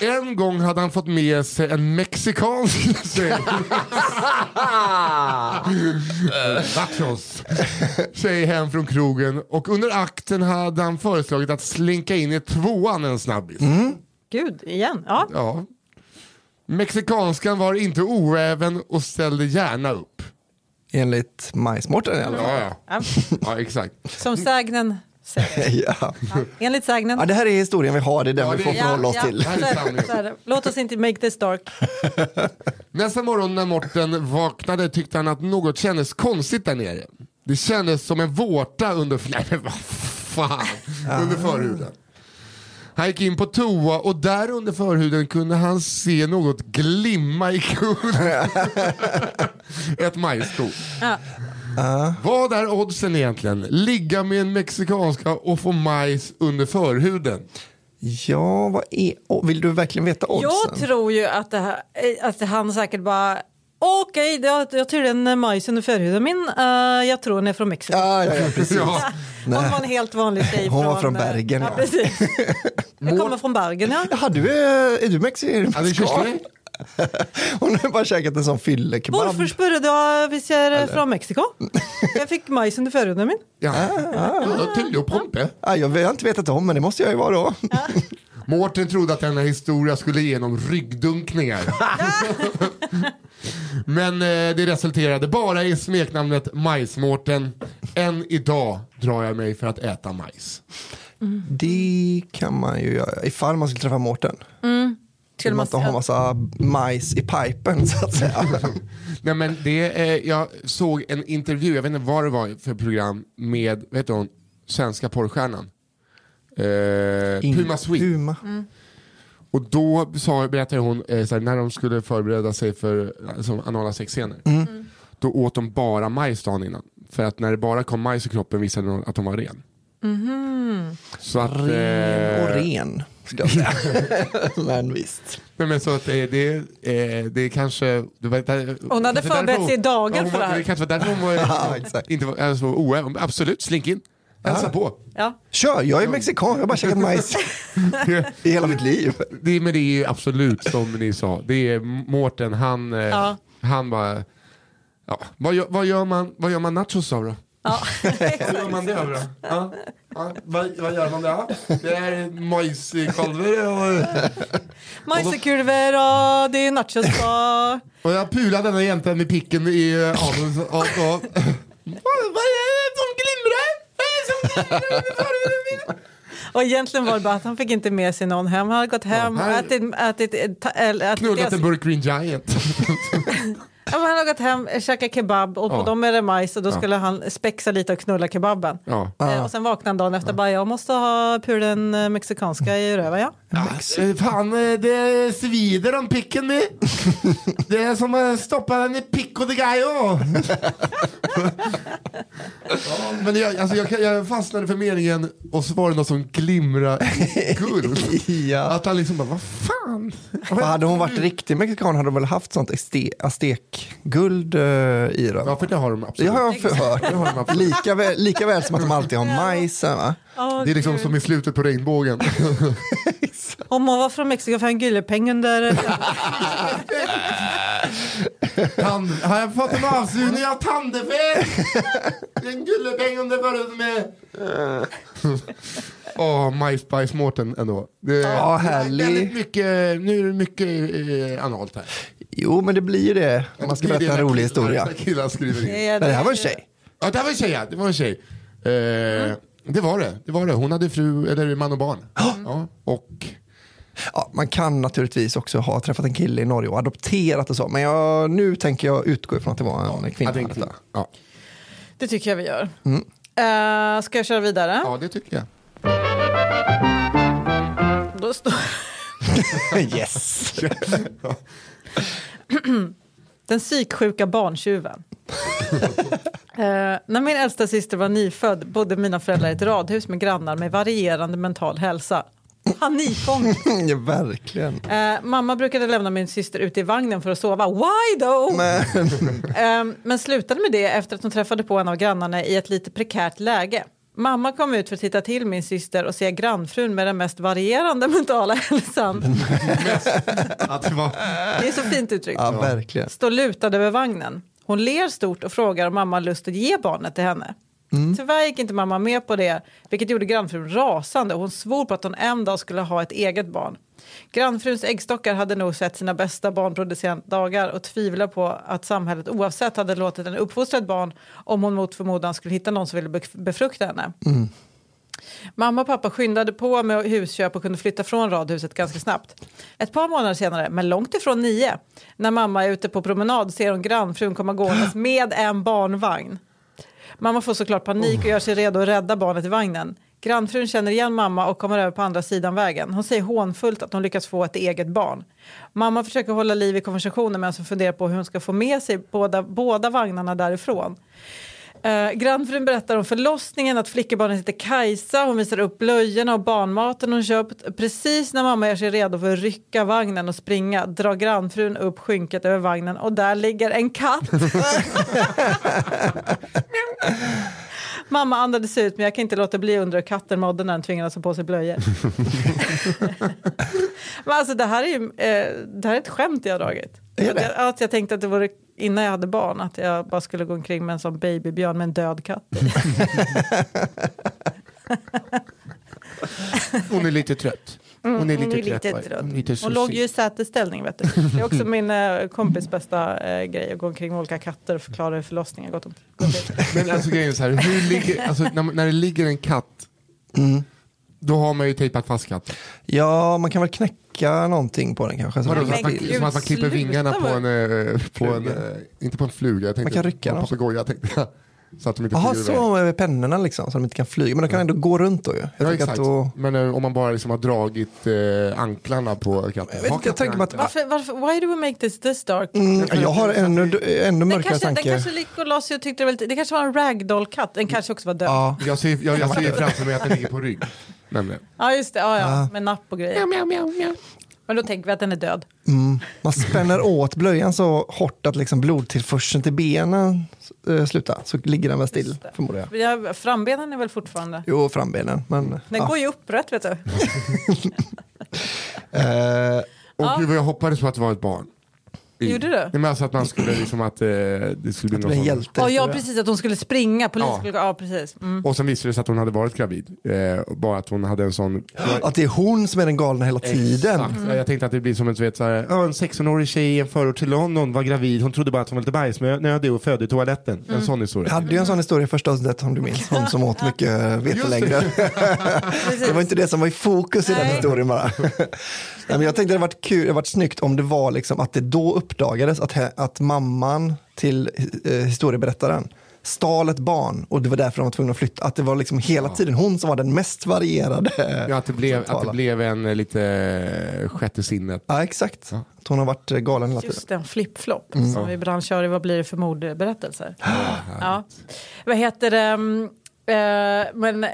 S2: en gång hade han fått med sig en mexikansk tjej. Nachos. Tjej hem från krogen och under akten hade han föreslagit att slinka in i tvåan en snabbis.
S3: Gud, igen. Ja.
S2: Ja. Mexikanskan var inte oäven och ställde gärna upp.
S4: Enligt majsmårten i alla fall.
S2: Ja, ja.
S3: Ja.
S2: ja exakt.
S3: Som sägnen säger.
S4: *laughs* Ja.
S3: Enligt sägnen.
S4: ja, det här är historien vi har. Det är den
S2: Ja,
S4: vi
S2: det-
S4: får förhålla oss till.
S2: Det här är
S3: så är det,
S2: sanningen.
S3: så är det. Låt oss inte make this dark.
S2: Nästa morgon när Morten vaknade tyckte han att något kändes konstigt där nere. Det kändes som en vårta under, *laughs* nej, men vad fan, under förhuden. Han gick in på toa och där under förhuden kunde han se något glimma i kullen. Ett majskorn.
S3: Ja.
S2: Vad är oddsen egentligen? Ligga med en mexikanska och få majs under förhuden.
S4: Ja, vad är... åh, vill du verkligen veta oddsen?
S3: Jag tror ju att, det här, eh, att han säkert bara Okej, jag, jag tror den är majs under förhuden min. Eh, jag tror den är från Mexiko.
S4: Ja, ja, ja, precis.
S2: Ja.
S3: Hon var en helt vanlig tjej.
S4: Hon var från
S3: eh,
S4: Bergen,
S3: Ja,
S4: ja. *laughs*
S3: precis. Jag kommer från Bergen, ja.
S4: Har du, eh, är du mexikan?
S2: Ja, det är kyssling.
S4: Hon har bara käkat en sån fyllekebab.
S3: Varför spurrade jag hvis jag är från
S4: *laughs*
S3: Mexiko? Jag fick majs under förhuden min.
S2: Ja. Ja, Tydlig och pompe.
S4: Ja, Ah, jag har inte vetat om, men det måste jag ju vara då.
S2: Mårten trodde att denna historia skulle ge honom ryggdunkningar. Men eh, det resulterade bara i smeknamnet Majsmårten. Än idag drar jag mig för att äta majs.
S4: Det kan man ju göra ifall man skulle träffa Mårten.
S3: Skulle
S4: man
S3: man
S4: inte ha massa majs i pipen så
S2: *laughs*
S4: att säga.
S2: Nej, men det, eh, jag såg en intervju, jag vet inte vad det var för program, med vet du, hon, svenska porrstjärnan. Eh, Puma Sweet.
S4: Puma.
S2: Och då sa, berättade hon, eh, såhär, när de skulle förbereda sig för alltså, anala sexscener,
S4: Mm.
S3: Mm.
S2: då åt de bara majs dagen innan. För att när det bara kom majs i kroppen visade de att de var ren.
S3: Mm-hmm.
S2: Så att,
S4: Ren och
S2: eh,
S4: ren, ska
S2: *laughs*
S4: jag säga. men visst.
S2: Nej, men så att eh, det, eh, det är kanske... Det var, där,
S3: Hon hade
S2: kanske
S3: förberett
S2: därför
S3: sig i dagar
S2: hon var-
S3: för det här.
S2: Det kanske var därför hon var
S4: *laughs* Ja, exakt.
S2: inte var, alltså, oäven. Absolut, slink in. Hälsa på.
S3: Ja. *laughs*
S4: Kör, jag är mexikan, jag har bara käkat majs i hela mitt liv.
S2: Det, men det är ju absolut som ni sa. Det är Mårten, han, eh,
S3: Ja.
S2: han bara... Ja. Vad, gör, vad, gör man, vad gör man nachos av då?
S3: Ja.
S2: Vad gör man det av då? Ja. Ja. Vad, vad gör man det av? Det är majskolvar och...
S3: Majsekulver och det är nachos och...
S2: Och jag pulade den här jäntan med picken i eh, anus. och- och- *laughs* Vad vad är det som glimrar? Vad är det som glimrar under förhuden min?
S3: *laughs* Och egentligen var det bara att han fick inte med sig någon hem. Han hade gått hem
S2: Ja,
S3: och
S2: här-
S3: alltså- ätit... ätit, ätit, ätit, ätit
S2: Knullat en burk Green Giant.
S3: Ja, men han har gått hem, eh, käkat kebab och på
S2: Ja.
S3: dem är det majs och då
S2: Ja.
S3: skulle han spexa lite och knulla kebaben.
S2: *laughs* Ja.
S3: Eh, Och sen vaknade han dagen efter och bara jag måste ha pulen eh, mexikanska i röven ja.
S2: Eh, Fan, eh, det svider om picken *laughs* nu. Det är som att stoppa den i pico de gallo. ja, men jag, alltså jag, kan- jag fastnade för meningen och så var det något som glimrade i guld. *laughs*
S4: ja.
S2: Att han liksom bara, vad fan?
S4: För hade hon varit riktig mexikan hade hon väl haft sånt este- aztekguld eh, i röven?
S2: Ja, för det har de absolut.
S4: Det har jag
S2: Det
S4: förhört.
S2: har de absolut.
S4: Lika väl, lika väl som att de alltid har majs. här, Va?
S3: Åh,
S2: Det är liksom
S3: gud.
S2: som i slutet på *laughs* regnbågen.
S3: Om hon var från Mexiko för en
S2: *laughs*
S3: gyllepeng under...
S2: Tand, har jag fått en avsugning av *laughs* tandefel? En gullepeng om det förut med. *laughs* Åh, majsbajs-Mårten ändå. Det,
S4: Ja,
S2: det är
S4: härlig.
S2: väldigt Mycket, nu är det mycket eh, analt här.
S4: Jo, men det blir ju det om man ska
S2: Det är det
S4: berätta en
S2: när
S4: rolig
S2: killar-
S4: historia.
S2: när *laughs* Killar skriver in.
S3: Ja,
S4: Men det här var en tjej.
S2: Ja, det var en tjej, ja. det var en tjej. Eh, Det var det, det var det. Hon hade fru, eller man och barn. Ja, och
S4: Ja, man kan naturligtvis också ha träffat en kille i Norge och adopterat och så. Men jag, nu tänker jag utgå ifrån att det var en kvinna.
S2: Ja, det är en kvinna. Ja.
S3: Det tycker jag vi gör. Eh, ska jag köra vidare?
S2: ja, det tycker jag.
S3: Då står... *laughs*
S4: *laughs* yes.
S3: Den psyksjuka barntjuven. Eh, när min äldsta syster var nyfödd bodde mina föräldrar i ett radhus med grannar med varierande mental hälsa. Panikångest.
S4: ja, verkligen.
S3: Eh, mamma brukade lämna min syster ute i vagnen för att sova. Why though? Men, men slutade med det efter att hon träffade på en av grannarna i ett lite prekärt läge. Mamma kom ut för att titta till min syster och se grannfrun med den mest varierande *laughs* mentala hälsan.
S2: Att det var...
S3: Det är så fint uttryckt.
S4: Ja, verkligen.
S3: Står lutad över vagnen. Hon ler stort och frågar om mamma har lust att ge barnet till henne. Tyvärr gick inte mamma med på det, vilket gjorde grannfrun rasande och hon svor på att hon en dag skulle ha ett eget barn. Grannfruns äggstockar hade nog sett sina bästa barnproducerande dagar och tvivlar på att samhället oavsett hade låtit en uppfostrad barn om hon mot förmodan skulle hitta någon som ville bef- befrukta henne. Mamma och pappa skyndade på med husköp och kunde flytta från radhuset ganska snabbt. Ett par månader senare, men långt ifrån nio, när mamma är ute på promenad ser hon grannfrun komma gåendes med en barnvagn. Mamma får såklart panik och gör sig redo att rädda barnet i vagnen. Grannfrun känner igen mamma och kommer över på andra sidan vägen. Hon säger hånfullt att hon lyckats få ett eget barn. Mamma försöker hålla liv i konversationen medan hon funderar på hur hon ska få med sig båda, båda vagnarna därifrån. Eh, grannfrun berättar om förlossningen, att flickebarnet heter Kajsa. Hon visar upp blöjorna och barnmaten hon köpt. Precis när mamma gör sig redo för att rycka vagnen och springa drar grannfrun upp skynket över vagnen och där ligger en katt. mamma andades ut, men jag kan inte låta bli att undra hur katten mådde när den tvingades ha på
S2: *laughs*
S3: sig blöjor. men alltså, det, här är ju, eh, det här är ett skämt jag har dragit.
S4: Är
S3: Att
S4: det?
S3: jag, att jag tänkte att det vore innan jag hade barn, att jag bara skulle gå omkring med en sån babybjörn med en död katt.
S2: Hon är lite trött.
S3: Mm,
S2: Hon är lite trött. va? Hon, är lite
S3: Hon
S2: sossig.
S3: låg ju i sätesställning. Vet du. Det
S2: *laughs*
S3: är också min eh, kompis bästa eh, grej, att gå omkring med olika katter och förklara hur förlossningar gått om. gått till.
S2: Men alltså grejen är så här, hur ligger, alltså, när, när det ligger en katt, då har man ju tejpat fast katten.
S4: Ja, man kan väl knäcka någonting på den kanske. så
S2: Vadå,
S4: den
S2: som, att man,
S4: ligger still.
S2: som att man klipper
S3: sluta
S2: vingarna på
S3: med-
S2: en, eh, på en eh, inte på en fluga, jag tänkte,
S4: Man kan rycka
S2: på en
S4: dem.
S2: papegoja tänkte *laughs* jag. Så att de inte
S4: Jaha,
S2: flyger iväg.
S4: så med pennorna liksom, så de inte kan flyga. Men de kan ändå gå runt då ju. Jag
S2: Ja,
S4: tänker
S2: exakt.
S4: att då...
S2: Men eh, om man bara liksom har dragit eh, anklarna på katten.
S4: Jag vet inte, jag tänker mig att...
S3: Varför, varför, why do we make this this dark?
S4: Mm, jag har ännu, ännu
S3: Den
S4: mörkare
S3: kanske, den
S4: tanke.
S3: kanske Likolosio tyckte det var lite, det kanske var en ragdoll-katt, den kanske också var död. Ja,
S4: Ja,
S2: Jag ser, jag, jag ser framför mig att den ligger på
S4: *laughs*
S2: rygg. Nämligen.
S3: just det, ja, ja, med napp och grejer. Men då tänker vi att den är död.
S4: mm. Man spänner åt blöjan så hårt att liksom blodtillförseln till benen eh, slutar. Så ligger den väl still, förmodar jag.
S3: Vi har- Frambenen är väl fortfarande...
S4: Jo, frambenen. Men,
S3: Den
S4: ja.
S3: går ju upprätt, vet du.
S4: Eh,
S2: Och
S3: Ja.
S2: gud vad jag hoppades på att det var ett barn. I-
S3: Gjorde du?
S2: Nej, men alltså att man skulle liksom att eh, det skulle bli
S4: det
S2: någon
S4: blir en
S2: sån-
S4: hjälte.
S3: Ja, ja,
S4: tror jag.
S3: precis, att hon skulle springa. Polisen
S2: Ja.
S3: skulle gå... Ja, precis. Mm.
S2: Och sen visade det sig att hon hade varit gravid. Eh, bara att hon hade en sån...
S4: Att det är hon som är den galna hela tiden.
S2: Exakt. Jag tänkte att det blir som ett, du vet, så här, "Ja, en 16-årig tjej i en förort till London var gravid. Hon trodde bara att hon var lite bajsnödig och födde i toaletten.
S3: Mm.
S2: En sån
S4: Jag
S2: historia.
S4: hade ju en sån historia i första avsnittet om du minns. Hon som åt mycket eh, vetelängder.
S3: precis.
S4: Det var inte det som var i fokus i den
S3: Nej.
S4: *laughs* historien bara. Nej, men jag tänkte det hade varit kul, det hade varit snyggt om det var liksom att det då uppdagades att, he- att mamman till eh, historieberättaren stal ett barn och det var därför de var tvungna att flytta. Att det var liksom hela tiden hon som var den mest varierade.
S2: Ja, att, det blev, att det
S4: centrala.
S2: blev en eh, lite eh, sjätte sinnet.
S4: Ja, exakt. Att hon har varit eh, galen hela tiden.
S3: Just den flip-flop
S4: Mm.
S3: som vi ibland kör i Vad blir det för mordberättelser. ja. Vad heter det? mm, eh, men, eh,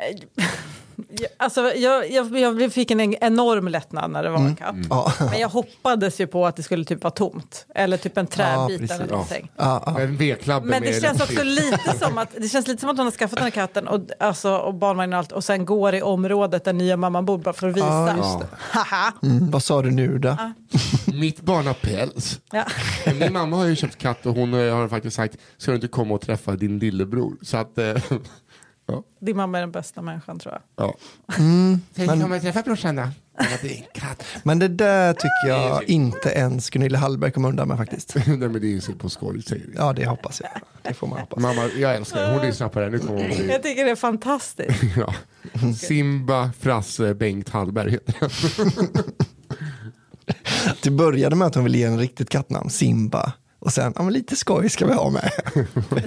S3: *laughs* alltså, jag, jag, jag fick en en enorm lättnad när det var
S4: Mm.
S3: en kapp.
S4: Ja.
S3: Men jag hoppades ju på att det skulle typ vara tomt. Eller typ en träbit
S4: precis.
S3: eller någonting.
S4: Ja, ja.
S2: En vedklabbe
S3: Men det
S2: med
S3: känns
S2: lite
S3: också lite som att det känns lite som att hon har skaffat den här katten och, alltså, och barnvagnen och allt och sen går i området där nya mamman bor bara för att visa.
S4: Ja, just
S3: Haha.
S4: Mm, vad sa du nu då?
S2: Mitt barn har päls.
S3: Ja.
S2: Men Min mamma har ju köpt katt och hon eh, har faktiskt sagt, ska du inte komma och träffa din lillebror? Så att, eh, *laughs* ja.
S3: Din mamma är den bästa människan tror jag.
S2: ja. Tänk om jag träffar brorsan då? Mm. Ja, Det är en katt.
S4: Men det där tycker jag inte ens Gunilla Hallberg kommer undan med faktiskt.
S2: *laughs* Nej men det är ju så på skoj, säger vi.
S4: Ja, det hoppas jag. Det får man hoppas.
S2: Mamma, jag älskar det. Hon lyssnar på det här. Nu kommer hon
S3: *laughs*
S2: bli...
S3: Jag tycker det är fantastiskt.
S2: *laughs* Ja. Simba, Frasse, Bengt Hallberg heter jag.
S4: Det började med att hon ville ge en riktigt kattnamn, Simba. Och sen, ja men lite skoj ska vi ha med.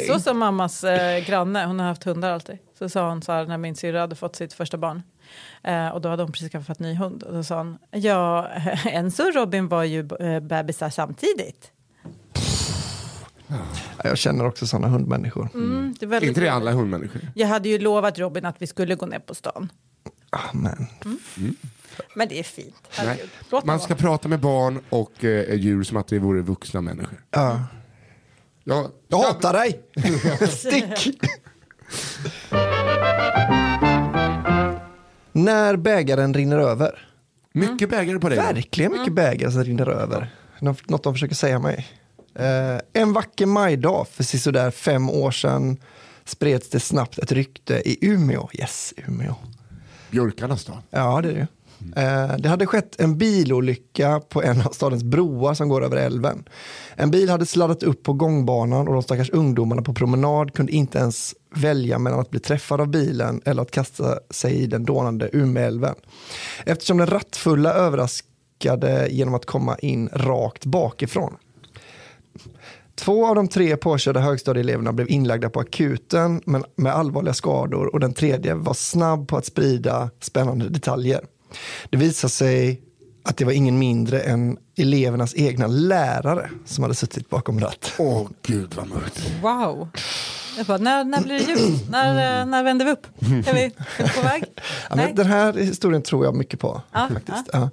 S3: Så sa mammas eh, granne, hon har haft hundar alltid. Så sa hon så här när min syrra hade fått sitt första barn. Eh, och då hade hon precis skaffat ny hund. Och då sa hon, ja, *laughs* Enzo och Robin var ju eh, bebisar samtidigt.
S4: Ja, Jag känner också sådana hundmänniskor.
S3: Mm, det är väldigt
S2: inte det alla hundmänniskor?
S3: Jag hade ju lovat Robin att vi skulle gå ner på stan.
S4: Ah, men.
S3: Men det är fint.
S2: Nej.
S3: Herregud. Låt
S2: Man ska
S3: vara.
S2: prata med barn och eh, djur som att det vore vuxna människor.
S4: Ja.
S2: Ja.
S4: Jag hatar dig! Stick! När bägaren rinner över.
S2: Mycket bägare på dig.
S4: Verkligen mycket bägare som rinner över. Nå- Något de försöker säga mig. Eh, en vacker majdag för sisådär fem år sedan spreds det snabbt ett rykte i Umeå. Yes, Umeå.
S2: Björkarnas stad.
S4: Ja, det är det ju. Eh, Det hade skett en bilolycka på en av stadens broar som går över älven. En bil hade sladdat upp på gångbanan och de stackars ungdomarna på promenad kunde inte ens välja mellan att bli träffad av bilen eller att kasta sig i den dånande Umeälven. Eftersom den rattfulla överraskade genom att komma in rakt bakifrån. Två av de tre påkörda högstadieeleverna blev inlagda på akuten men med allvarliga skador och den tredje var snabb på att sprida spännande detaljer. Det visade sig att det var ingen mindre än elevernas egna lärare som hade suttit bakom ratten.
S2: Åh gud vad mörkt.
S3: Wow. Jag bara, när, när blir det ljust? När, eh, när vänder vi upp? Är vi, är
S4: *laughs*
S3: vi på väg?
S4: Mm. Ja,
S3: Nej.
S4: men den här historien tror jag mycket på.
S3: Ja,
S4: faktiskt. Ja.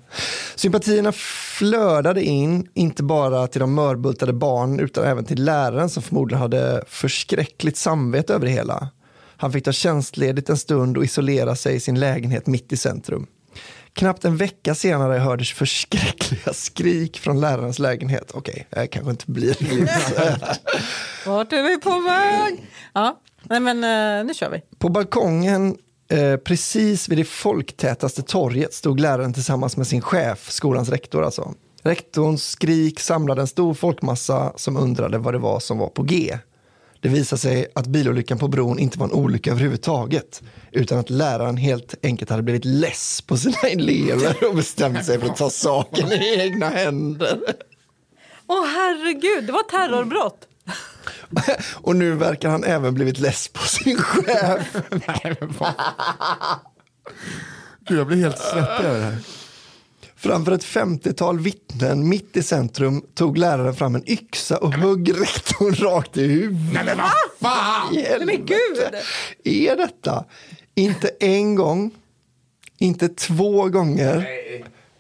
S4: Sympatierna flödade in, inte bara till de mörbultade barnen utan även till läraren som förmodligen hade förskräckligt samvete över det hela. Han fick ta tjänstledigt en stund och isolera sig i sin lägenhet mitt i centrum. Knappt en vecka senare hördes förskräckliga skrik från lärarens lägenhet. Okej, det här kanske inte
S3: *laughs*
S4: blir eh,
S3: Vart är vi på väg? Ja. Nej, men eh, nu kör vi.
S4: På balkongen eh, precis vid det folktätaste torget stod läraren tillsammans med sin chef, skolans rektor alltså. Rektorns skrik samlade en stor folkmassa som undrade vad det var som var på G. Det visade sig att bilolyckan på bron inte var en olycka överhuvudtaget utan att läraren helt enkelt hade blivit less på sina *laughs* elever och bestämt sig för att ta saken i egna händer. *laughs*
S3: Åh herregud, det var terrorbrott.
S4: Och nu verkar han även blivit less på sin chef.
S2: Nej men vad. Gud jag blir helt svettig över det här.
S4: Framför ett 50-tal vittnen mitt i centrum tog läraren fram en yxa och högg rektorn rakt i huvudet.
S2: Nej men vad fan.
S4: Nej,
S3: men gud!
S4: Är detta inte en gång, inte två gånger,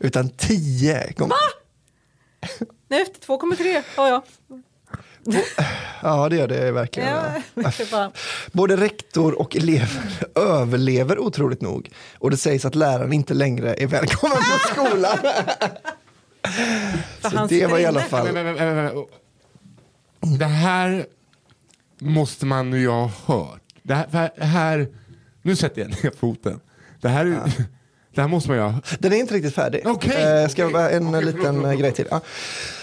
S4: utan tio gånger?
S3: Nu efter 2,3 har jag.
S4: Ja, det gör det verkligen.
S3: Ja. det är bara-
S4: Äh, Både rektor och elever *laughs* överlever otroligt nog och det sägs att läraren inte längre är välkommen på skolan.
S3: För
S4: Så
S3: han
S4: det
S3: sitter
S4: var i alla
S3: inne.
S4: fall...
S2: Men, men, men, men, men, men. Det här måste man ju ha hört. Det här, för här, nu sätter jag ner foten. Det här, är ju- *laughs* det här måste man ju ha
S4: Den är inte riktigt färdig.
S2: Okej.
S4: Eh, ska jag bara- en liten eh, grej till. Ja.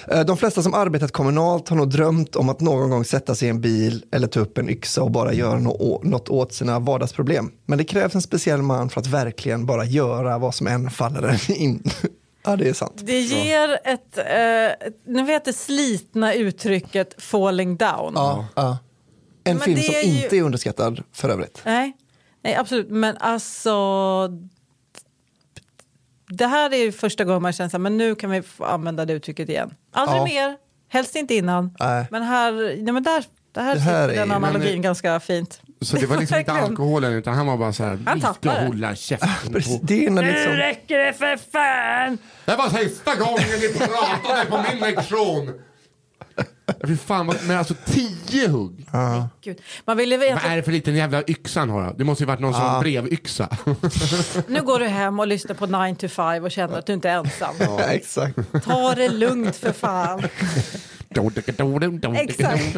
S4: Eh, De flesta som arbetat kommunalt har nog drömt om att någon gång sätta sig i en bil eller ta upp en yxa och bara göra nå- å- något åt sina vardagsproblem. Men det krävs en speciell man för att verkligen bara göra vad som än faller *laughs* en in. Ja, det är sant.
S3: Det ger ett, eh, nu vet det slitna uttrycket falling down.
S4: Ja, ja. En
S3: Men
S4: film
S3: det
S4: som
S3: är ju-
S4: inte är underskattad för övrigt.
S3: Nej. Nej, absolut. Men alltså... Det här är ju första gången man känner så här, men nu kan vi få använda det uttrycket igen. Aldrig
S4: Ja.
S3: mer, helst inte innan.
S4: Nej.
S3: Men här, nej men där, det här,
S4: Det här
S3: sitter
S4: är-
S3: den
S4: men-
S3: analogin ganska fint.
S2: Så det var liksom inte
S3: *laughs* Verkligen.
S2: alkoholen utan han var bara så här, vi ska
S3: tappade det."
S2: hålla käften
S4: Precis,
S2: på.
S4: det är när
S3: Nu
S4: liksom...
S3: räcker det för fan!
S2: Det var sista gången ni pratade på min lektion. Ja, Fy fan, vad- men alltså tio hugg.
S3: Gud. Man vill ju veta,
S2: Vad är det för liten jävla yxa han har? då? Det måste ju varit någon sån brevyxa. *laughs*
S3: nu går du hem och lyssnar på 9 to 5 och känner att du inte är ensam.
S4: Ja, exakt.
S3: Ta det lugnt för fan. Exakt.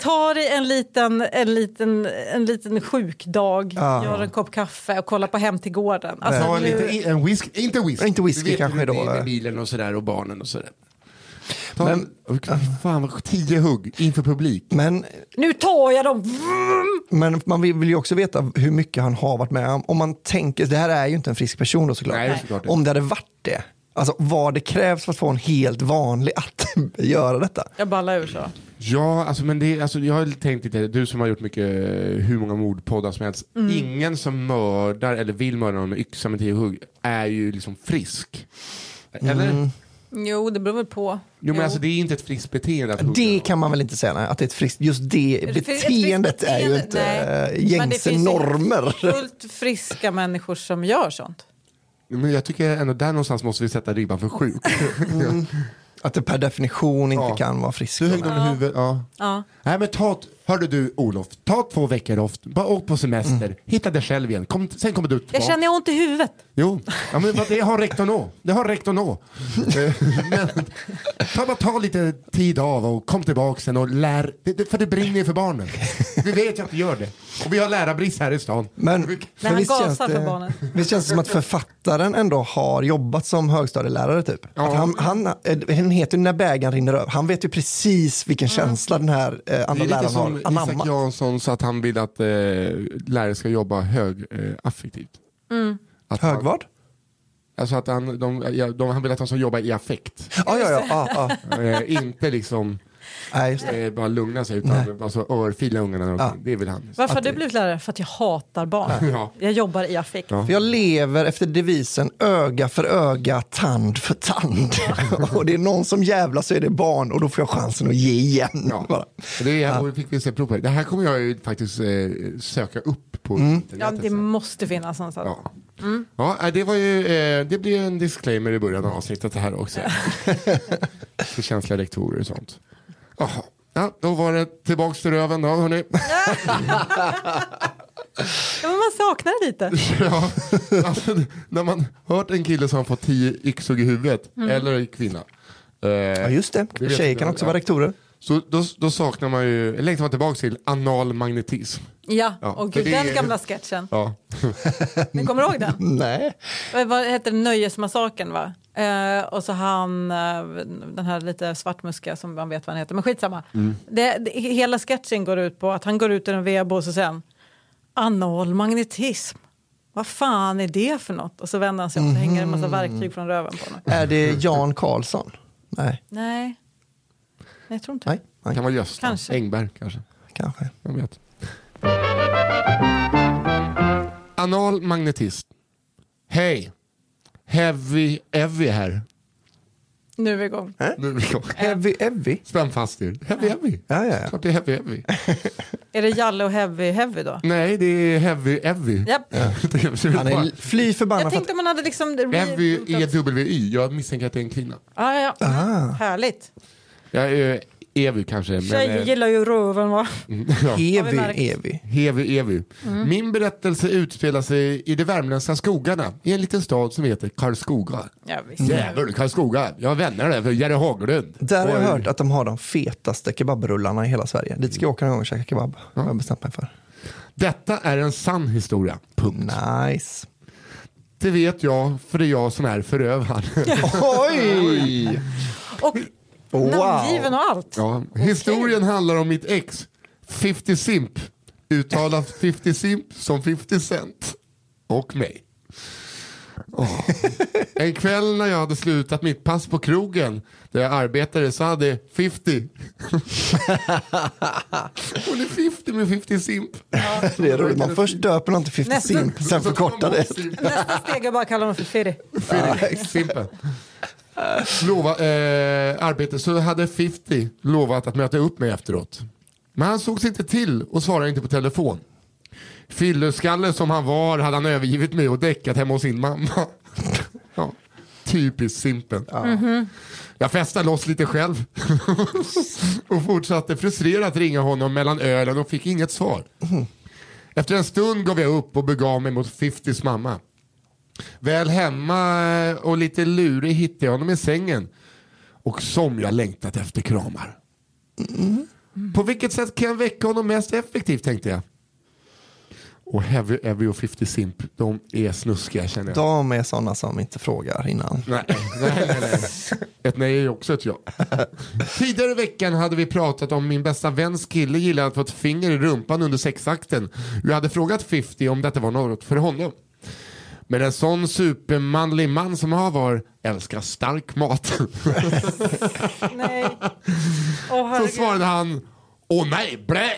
S3: Ta dig en liten, en liten, en liten sjukdag, gör en kopp kaffe och kolla på Hem till gården. Alltså,
S2: Ta
S3: nu-
S2: lite, i- en whisky, inte whisky.
S4: Inte whisky
S2: Du vet
S4: kanske
S2: hur det
S4: då,
S2: blir Med
S4: eh.
S2: bilen och sådär och barnen och sådär. Ta
S4: Men-
S2: en, och- fan, vad- tio hugg inför publik.
S4: Men,
S3: Nu tar jag dem!
S4: men man vill vill ju också veta hur mycket han har varit med om. Om man tänker, det här är ju inte en frisk person då såklart.
S2: Nej, såklart inte.
S4: om det hade varit det, alltså vad det krävs för att få en helt vanlig att *laughs* göra detta.
S3: Jag ballar ur så.
S2: Ja, alltså, men det, alltså, jag har tänkt lite, du som har gjort mycket, eh, hur många mordpoddar som helst.
S4: Mm.
S2: Ingen som mördar eller vill mörda någon med yxa med tio hugg är ju liksom frisk. Eller?
S4: Mm.
S3: Jo, det beror väl på.
S2: Jo men alltså det är inte ett friskt beteende att hugga
S4: Det
S2: någon.
S4: kan man väl inte säga, nej, att det är ett friskt, just
S3: Ett
S4: det
S3: fri- ett
S4: beteendet
S3: friskt
S4: är ju
S3: beteende,
S4: inte
S3: nej.
S4: eh,
S3: Men det
S4: gängse
S3: finns ju
S4: normer.
S3: Fullt friska människor som gör sånt.
S2: Men jag tycker ändå där någonstans måste vi sätta ribban för
S4: *laughs*
S2: sjuk.
S4: Mm. Att det per definition inte
S2: Ja.
S4: kan vara friskt.
S2: Du högg någon i huvudet, ja. Nej men ta, t- hörde du Olof, ta två veckor off, bara åk på semester,
S4: Mm.
S2: hitta dig själv igen, kom, sen kommer du tillbaka.
S3: Jag känner jag har ont i huvudet.
S2: Jo, ja, men vad- det har räckt att nå. Det har räckt att nå. Eh,
S4: Mm.
S2: men, *laughs* ta, bara ta lite tid av och kom tillbaka sen och lär, det, det, för det brinner ju för barnen. Vi vet ju att det gör det. Och vi har lärarbrist här i stan.
S4: Men,
S3: När han
S4: visst
S3: gasar
S4: känns
S3: för barnen.
S4: Visst känns det som att författaren ändå har jobbat som högstadielärare typ? Att han, han, eh, han heter ju När bägaren rinner över. Han vet ju precis vilken känsla den här eh,
S2: Mm. Det
S4: andra
S2: är lite
S4: läraren
S2: som
S4: har
S2: Isak
S4: anammat.
S2: Jansson sa att han vill att eh, lärare ska jobba högaffektivt. Eh, affektivt. Att han-
S4: Hög vad?
S2: Alltså att han, de, ja, de, han vill att de ska jobba i affekt.
S4: Ja, ja, ja. ja, ja.
S2: Eh, inte liksom
S4: Nej, just det.
S2: eh, bara lugna sig utan alltså, örfila ungarna. och-
S4: Ja.
S2: Det vill han.
S3: Varför har du blivit lärare? För att jag hatar barn.
S2: *laughs* Ja.
S3: Jag jobbar i affekt.
S2: Ja.
S4: För jag lever efter devisen öga för öga, tand
S2: *laughs*
S4: för tand. och det är någon som jävlar så är det barn och då får jag chansen att ge igen.
S2: Ja.
S4: Bara.
S2: Det är, och det fick vi se prov på. Det här kommer jag ju faktiskt eh, söka upp på
S4: Mm.
S3: Ja,
S2: internetet.
S3: det
S2: sen.
S3: måste finnas någonstans.
S2: Ja. Ja, eh, det, var ju, eh, det blir en disclaimer i början av avsnittet det här också. *laughs* För känsliga rektorer och sånt. Jaha. Ja, då var det tillbaks till röven då hörni. *laughs*
S3: Ja, men man saknar
S2: *laughs*
S3: det lite.
S2: ja. alltså, när man hört en kille som har fått tio yxhugg i huvudet, eller en kvinna. eh,
S4: Ja, just det.
S2: vet
S4: Tjejer
S2: inte,
S4: kan också
S2: ja.
S4: vara rektorer.
S2: Så då, då saknar man ju, längtar man tillbaks till anal magnetism.
S3: Ja,
S2: Ja,
S3: och
S2: för
S3: gud,
S2: det är-
S3: den gamla sketchen.
S2: Ja.
S3: Ni kommer ihåg den?
S4: Nej.
S3: Eh, Vad hette det? Nöjesmassakern va? Eh, och så han, eh, den här lite svartmuska som man vet vad han heter, men skitsamma. Det, det, hela sketchen går ut på att han går ut ur en vedbås och sen anal magnetism. Vad fan är det för något? Och så vänder han sig om och så hänger det en massa verktyg från röven på honom.
S4: Är det Jan Karlsson? Nej,
S3: Nej, Nej jag tror inte
S4: nej, nej
S2: Kan vara Gösta
S3: Kanske.
S2: Engberg kanske.
S4: kanske.
S2: Jag vet. Anal magnetist. Hej! Heavy Evy här.
S4: Äh?
S3: Nu är vi igång.
S2: Nu är vi igång.
S4: Evy, Evy?
S2: Spänn fast er. Heavy Evy.
S4: Ja, ja, ja.
S2: Klart det är Heavy Evy.
S3: Är det Jalle och Heavy Heavy då?
S2: Nej, det är Heavy Evy.
S3: Japp.
S2: *laughs* Det är-
S4: Han är fly
S3: Jag
S4: förbannad för att
S3: tänkte om man hade liksom...
S2: Evy EWY. Jag misstänker att det är en kvinna.
S3: Ja, ja. Härligt.
S2: Jag är Evy kanske. men,
S3: Tjejer
S2: eh,
S3: gillar ju röven va?
S2: *laughs* ja.
S3: Har vi märkt.
S4: Evy, Evy.
S2: Heavy Evy.
S4: Mm.
S2: Min berättelse utspelar sig i de värmländska skogarna i en liten stad som heter Karlskoga.
S3: Ja, visst.
S2: Jävel, Karlskoga. Jag har vänner där, för Jerry Haglund.
S4: Mm. Där har jag
S2: Och-
S4: hört att de har de fetaste kebabrullarna i hela Sverige. Dit ska jag åka någon gång och käka kebab. Har jag bestämt mig för.
S2: Detta är en sann historia. Punkt. *laughs*
S4: Nice.
S2: Det vet jag, för det är jag som är förövaren.
S4: *laughs* Oj!
S3: Och
S4: Wow.
S3: namngiven och allt.
S2: ja. Historien handlar om mitt ex, 50 Simp.
S4: *laughs*
S2: Uttalat 50 Simp som 50 Cent. Och mig. Åh. En kväll när jag hade slutat mitt pass på krogen där jag arbetade så hade
S4: *laughs*
S2: 50. Hon är 50 med 50 simp.
S4: Det är roligt. Man först döper någon till 50
S3: Nästan.
S4: Simp, sen
S2: Så
S4: förkortar
S2: kommer
S4: det.
S2: hon simp.
S3: Nästa steg är bara att kalla honom för Fiddy.
S2: Fredrik, Simpen. Lova, eh, arbete så hade 50 lovat att möta upp mig efteråt. Men han sågs inte till och svarade inte på telefon. Fylleskalle som han var hade han övergivit mig och däckat hemma hos sin mamma. *laughs* ja, typiskt Simpen. Jag festade loss lite själv *laughs* och fortsatte frustrerat ringa honom mellan ölen och fick inget svar. Efter en stund gav jag upp och begav mig mot 50s mamma. Väl hemma och lite lurig hittade jag honom i sängen. Och som jag längtat efter kramar. På vilket sätt kan jag väcka honom mest effektivt tänkte jag. Och Heavy, Heavy och 50 Simp, de är snuskiga känner jag.
S4: De är sådana som inte frågar innan.
S2: Nej, nej, nej, nej. Ett nej är också ett ja. Tidigare i veckan hade vi pratat om min bästa väns kille gillade att få ett finger i rumpan under sexakten. Jag hade frågat 50 om detta var något för honom. Men en sån supermanlig man som han var älskar stark mat. *laughs*
S3: Nej. Åh,
S2: Så
S3: herregud.
S2: svarade han, åh nej, blä!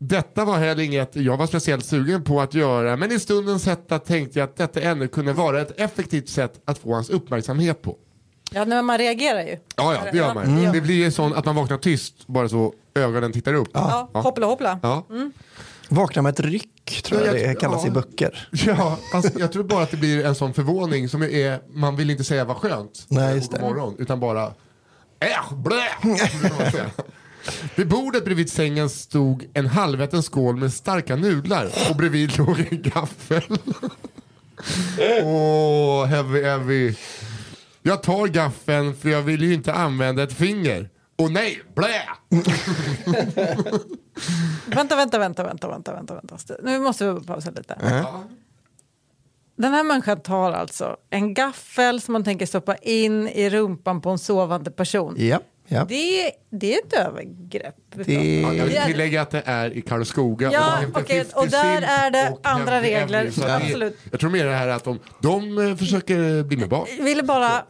S2: Detta var heller inget jag var speciellt sugen på att göra men i stundens hetta tänkte jag att detta ännu kunde vara ett effektivt sätt att få hans uppmärksamhet på.
S3: Ja, nej, men man reagerar ju.
S2: Ja, ja, det gör man.
S4: Mm.
S3: Ja.
S2: Det blir ju sån att man vaknar tyst bara så ögonen tittar upp.
S3: Ja,
S2: Ja.
S3: hoppla hoppla.
S2: Ja.
S4: Mm. Vakna med ett ryck, tror jag
S2: Ja, jag-
S4: det kallas
S2: ja.
S4: i böcker.
S2: *laughs* Ja, fast jag tror bara att det blir en sån förvåning som är, man vill inte säga vad skönt. eh,
S4: Nej, just det.
S2: God morgon, utan bara, äsch, blä! vill man säga. Vid bordet bredvid sängen stod en halvätten skål med starka nudlar och bredvid *laughs* låg en
S4: *laughs*
S2: gaffel. Åh, heavy, heavy. Jag tar gaffeln för jag vill ju inte använda ett finger. Och nej, blä!
S3: Vänta, vänta, vänta, vänta, vänta, vänta, vänta. Nu måste vi pausa lite. Den här människan tar alltså en gaffel som man tänker stoppa in i rumpan på en sovande person.
S4: Ja, ja.
S3: Det, det är ett övergrepp.
S4: Det...
S2: Ja, jag vill
S3: Ja.
S2: tillägga att det är i Karlskoga.
S3: Ja,
S2: det heter
S3: okej,
S2: 50
S3: och där
S2: simp
S3: är det
S2: och
S3: andra
S2: 50
S3: regler,
S2: Emily, så att det-
S3: absolut.
S2: Jag tror mer det här att de, de eh, försöker bli med barn.
S3: Jag ville bara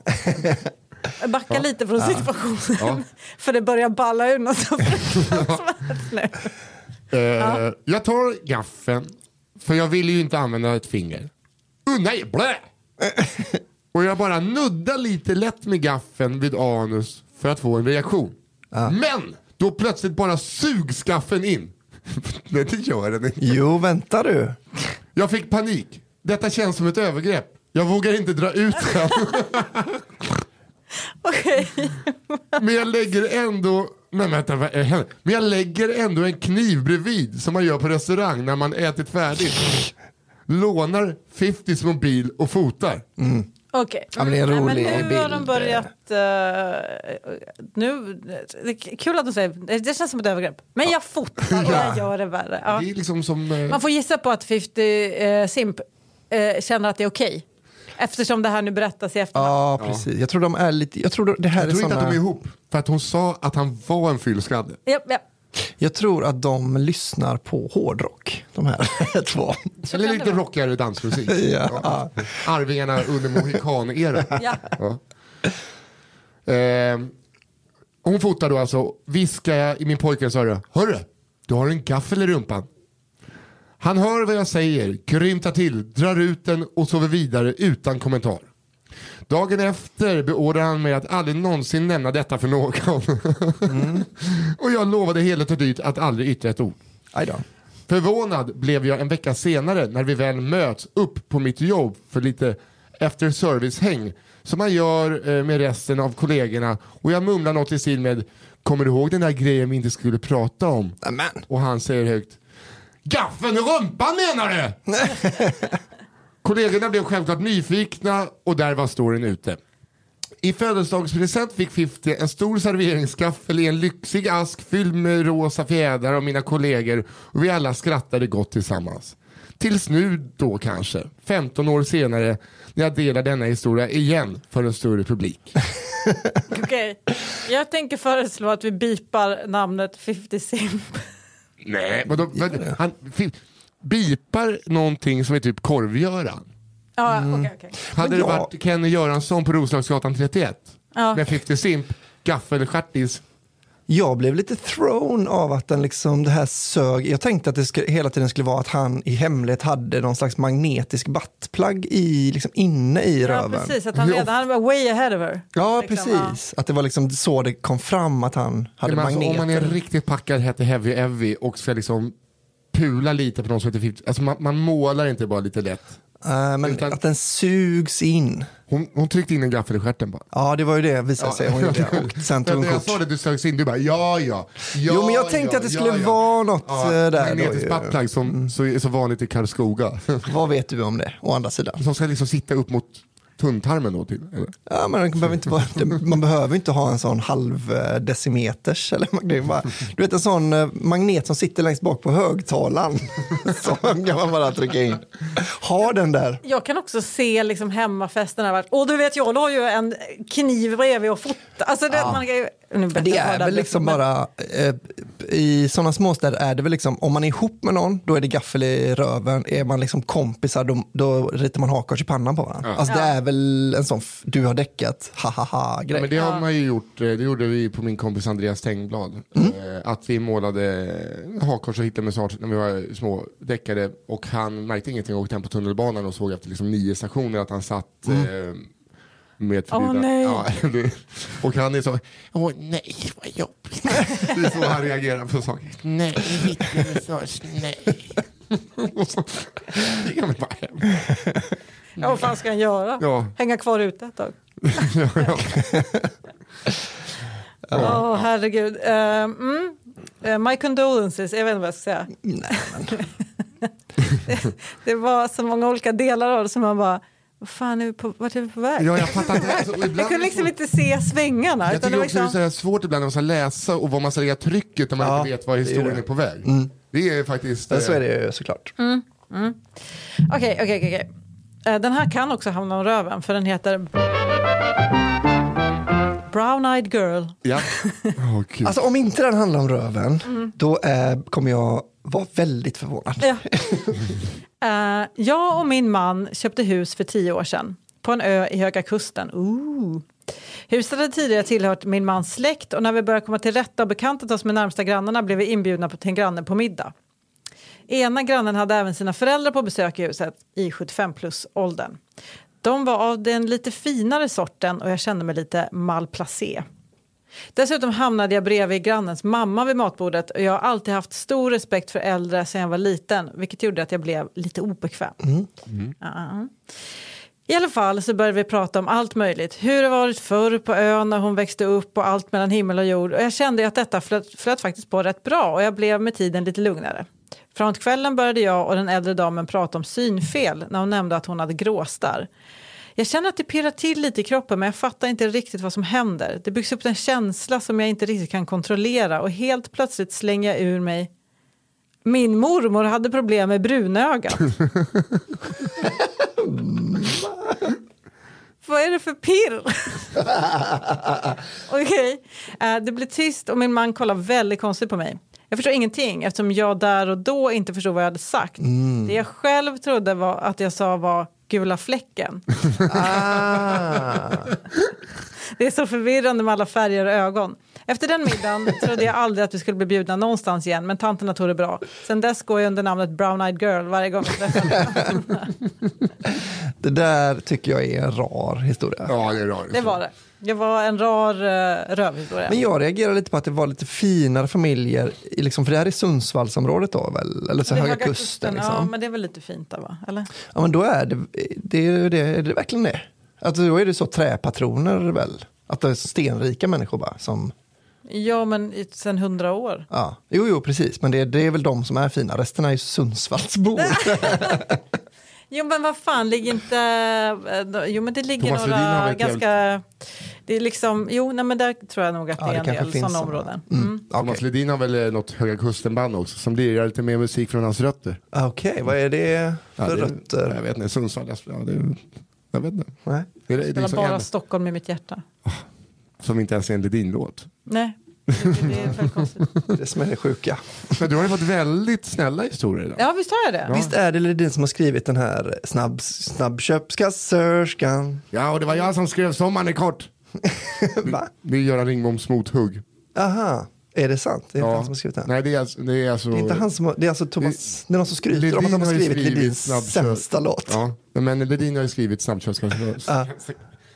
S3: backa lite från situationen.
S2: Ja.
S3: *laughs* För det börjar balla ur något så
S4: *laughs*
S3: fruktansvärt nu.
S2: Eh, Jag tar gaffeln, för jag vill ju inte använda ett finger. Uh, nej,
S3: *laughs*
S2: blä! och jag bara nuddar lite lätt med gaffeln vid anus för att få en reaktion. Men då plötsligt bara sugs gaffeln
S3: *laughs*
S2: in. nej, det gör den inte.
S4: Jo, vänta du.
S2: Jag fick panik. Detta känns som ett övergrepp. Jag vågar inte dra ut den.
S3: *laughs* Okej,
S2: Men jag lägger ändå Nej, vänta, vad är det? men jag lägger ändå en kniv bredvid som man gör på restaurang när man ätit färdigt. Lånar 50s mobil och fotar.
S3: okej.
S4: Ja, men det är en
S3: Nej,
S4: rolig
S3: men nu har de
S4: bild.
S3: börjat... eh, nu, det är kul att de säger det det känns som ett övergrepp. Men jag fotar och jag gör det värre. Ja.
S2: Det är liksom som... eh,
S3: Man får gissa på att 50 eh, Simp eh, känner att det är okej. Eftersom det här nu berättas i efterhand.
S4: Ja, precis. Jag tror de är lite... Jag tror det här
S2: Jag tror
S4: är
S2: inte att de
S4: såna...
S2: är ihop. För att hon sa att han var en fyllskalle.
S3: Ja, ja.
S4: Jag tror att de lyssnar på hårdrock, de här *laughs* två.
S2: Eller
S3: kan det
S2: lite
S3: vara.
S2: rockigare dansmusik.
S4: *laughs* Ja.
S2: Arvingarna under mohikaneran.
S3: Ja.
S2: *laughs* Ja. Eh, hon fotar då alltså, viskar jag i min pojkväns öra. Hörru, du har en gaffel i rumpan. Han hör vad jag säger, grymtar till, drar ut den och sover vidare utan kommentar. Dagen efter beordrar han mig att aldrig någonsin nämna detta för någon. *laughs* och jag lovade heligt och dyrt att aldrig yttra ett ord.
S4: Aj då.
S2: Förvånad blev jag en vecka senare när vi väl möts upp på mitt jobb för lite after service-häng som man gör eh, med resten av kollegorna och jag mumlar något i stil med Kommer du ihåg den där grejen vi inte skulle prata om?
S4: Amen.
S2: Och han säger högt Gaffeln i rumpan menar du? Kollegorna blev självklart nyfikna och där var storyn ute. I födelsedagspresent fick 50 en stor serveringsgaffel i en lyxig ask fylld med rosa fjädrar av mina kollegor och vi alla skrattade gott tillsammans. Tills nu då kanske, 15 år senare, när jag delar denna historia igen för en större publik.
S3: Okej. Jag tänker föreslå att vi bipar namnet 50 Simp.
S2: Nej, men då, men, han fi- bipar någonting som är typ korvgöran.
S3: Ja,
S4: Mm.
S3: okej, okej.
S2: Hade det
S4: jag-
S2: varit Kenny Göransson på Roslagsgatan 31
S3: Ja.
S2: med 50 Simp, gaffelstjärtis.
S4: Jag blev lite thrown av att den liksom, det här sög. Jag tänkte att det skulle, hela tiden skulle vara att han i hemlighet hade någon slags magnetisk buttplug i, liksom inne i
S3: Ja,
S4: röven.
S3: precis. Att han
S2: Hur
S3: redan han var way ahead of her.
S4: Ja,
S3: Liksom,
S4: precis. Att det var liksom så det kom fram att han hade
S2: Men Alltså,
S4: magneter.
S2: om man är riktigt packad, heter Heavy Evy och ska liksom pula lite på någon som heter 50 Alltså man, man målar inte bara lite lätt.
S4: Eh, men
S2: Utan-
S4: att den sugs in.
S2: Hon, hon tryckte in en gaffel i stjärten bara.
S4: Ja, det var ju det visade sig. Hon
S2: *laughs*
S4: gjorde. Och sen tog
S2: Men
S4: hon
S2: när jag
S4: kort.
S2: sa det, du sögs in, du bara ja, ja. ja
S4: Jo, men jag tänkte
S2: ja,
S4: att det
S2: ja,
S4: skulle
S2: ja.
S4: vara något
S2: Ja,
S4: eh, där. då
S2: Magnetisk
S4: ju. Mm.
S2: buttplug som så är så vanligt i Karlskoga. *laughs*
S4: Vad vet du om det, å andra sidan?
S2: Som ska liksom sitta upp mot tunntarmen då typ. till. eller?
S4: Ja, men man, behöver inte vara, man behöver inte ha en sån halv eh, decimeters. Eller, man kan ju bara, du vet en sån eh, magnet som sitter längst bak på högtalaren. *laughs* Som kan man bara trycka in. Ha den där.
S3: Jag kan också se liksom hemmafesten där. Och du vet, jag la ju en kniv bredvid och fotade. Alltså, det, man kan ju, nu berättar
S4: Det
S3: jag
S4: är
S3: bara
S4: väl
S3: det,
S4: liksom
S3: men-
S4: bara, eh, i sådana småstäder är det väl liksom, om man är ihop med någon, då är det gaffel i röven. Är man liksom kompisar, då, då ritar man hakkors i pannan på varandra. Alltså det är väl en sån, f- du har däckat, ha ha ha
S2: Ja,
S4: grej.
S2: men det har man ju gjort, eh, det gjorde vi på min kompis Andreas Tengblad. Eh, Att vi målade hakkors och hitlemustasch när vi var små deckare och han märkte ingenting och åkte hem på tunnelbanan och såg efter liksom nio stationer att han satt eh, med förbjudna.
S3: nej.
S2: Ja, *laughs* det- och han är så, åh nej vad jobbigt. Det är så han reagerar på saker. Nej, hitlemustasch, nej. Och så gick han bara hem.
S3: Ja, vad fan ska han göra?
S2: Ja.
S3: Hänga kvar ute ett
S4: *laughs*
S3: tag? *laughs* Åh, herregud. Eh, mm. Eh, my condolences, jag vet inte vad jag ska säga.
S4: Nej,
S3: *laughs* Det var så många olika delar av det som man bara, vad fan är vi på, vart är vi på väg?
S2: Ja, jag fattar inte. Alltså, och ibland
S3: Jag
S2: är det
S3: kunde liksom
S2: så-
S3: inte se svängarna.
S2: Jag
S3: utan
S2: tycker
S3: det var
S2: också det är
S3: liksom,
S2: så här svårt ibland när man ska läsa och vad man ska lägga trycket när man
S4: Ja,
S2: inte vet var
S4: det är
S2: historien
S4: det.
S2: är på väg. Det är faktiskt...
S4: men så är
S2: eh,
S4: det ju såklart.
S3: Okej, okej, okej. okej. Eh, Den här kan också hamna om röven för den heter Brown Eyed Girl.
S2: Ja. *laughs* Åh, gud.
S4: Alltså om inte den handlar om röven, då eh, kommer jag vara väldigt förvånad.
S3: Mm. Ja. Eh, jag och min man köpte hus för tio år sedan på en ö i Höga Kusten. Ooh. Huset hade tidigare tillhört min mans släkt och när vi började komma till rätta och bekantat oss med närmsta grannarna blev vi inbjudna på- till en granne på middag. Ena grannen hade även sina föräldrar på besök i huset i 75 plus-åldern. De var av den lite finare sorten och jag kände mig lite malplacé. Dessutom hamnade jag bredvid grannens mamma vid matbordet och jag har alltid haft stor respekt för äldre sedan jag var liten vilket gjorde att jag blev lite obekväm. Ja. I alla fall så började vi prata om allt möjligt. Hur det varit förr på ön när hon växte upp och allt mellan himmel och jord. Och jag kände ju att detta flöt, flöt faktiskt på rätt bra och jag blev med tiden lite lugnare. Framåt kvällen började jag och den äldre damen prata om synfel när hon nämnde att hon hade gråstarr. Jag känner att det pirrar till lite i kroppen men jag fattar inte riktigt vad som händer. Det byggs upp en känsla som jag inte riktigt kan kontrollera och helt plötsligt slänger jag ur mig min mormor hade problem med brunögat. Vad är det för
S4: *laughs*
S3: pirr? Okej. Eh, det blir tyst och min man kollar väldigt konstigt på mig. Jag förstår ingenting eftersom jag där och då inte förstod vad jag hade sagt.
S4: Mm.
S3: Det jag själv trodde var att jag sa var gula
S4: *laughs*
S3: fläcken. Det är så förvirrande med alla färger och ögon. Efter den
S4: *laughs*
S3: middagen trodde jag aldrig att vi skulle bli bjudna någonstans igen, men tanterna tog det bra. Sen dess går jag under namnet Brown Eyed Girl varje gång jag träffar henne.
S4: *laughs* Det där tycker jag är en rar historia.
S2: Ja, det är rart.
S3: Det var det. Det var en rar uh, rövhistoria.
S4: Men jag reagerar lite på att det var lite finare familjer, i liksom, för det här är Sundsvallsområdet då väl? Eller så
S3: Det är
S4: Höga Kusten. liksom.
S3: Ja, men det är väl lite fint där, va? Eller?
S4: Ja, men då är det, det, är det, är det verkligen det. Alltså, då är det så träpatroner väl? Att det är stenrika människor bara som...
S3: Ja, men i- sen hundra år.
S4: Ja. Jo, jo, precis. Men det, det är väl de som är fina. Resten är
S3: *laughs*
S4: ju Sundsvallsbor.
S3: Jo, men vad fan, ligger inte... eh, då- Jo, men det ligger
S2: Thomas Ledin har
S3: några
S2: väl ett
S3: ganska... Det är liksom... Jo, nej, men där tror jag nog att det
S4: Ja,
S3: är en
S4: kanske
S3: del sådana
S4: såna.
S3: områden.
S4: Mm. Okej,
S2: Thomas Ledin har väl eh, något Höga Kusten-band också som lirar lite mer musik från hans rötter.
S4: Ah, Okej, vad är det
S2: Ja,
S4: för
S2: det-
S4: rötter?
S2: Jag vet inte, Sundsvall. Jag, ja, det, jag vet inte.
S4: Nej.
S2: Det, är- det är
S3: Spelar
S2: liksom
S3: bara
S2: en,
S3: Stockholm i mitt hjärta.
S2: som inte ens är en Ledin-låt.
S3: Nej, Det är
S2: *laughs*
S3: väldigt konstigt.
S4: Det är det som är det sjuka.
S2: Men du har ju fått väldigt snälla historier idag.
S3: Ja, visst har jag det?
S4: Visst är det Ledin som har skrivit den här snabb, snabbköpskassörskan?
S2: Ja, och det var jag som skrev sommaren är kort.
S4: Va?
S2: Det är Göran Lindboms mothugg.
S4: Aha, är det sant? Det är inte
S2: Ja.
S4: han som har skrivit den?
S2: Nej, det är alltså... Det är alltså
S4: Det är inte han som har, det är alltså Thomas, det är någon som skryter om att han har
S2: ju
S4: skrivit Ledins
S2: snabbköp-
S4: sämsta låt.
S2: Ja, men Ledin har ju skrivit snabbköpskassörskan.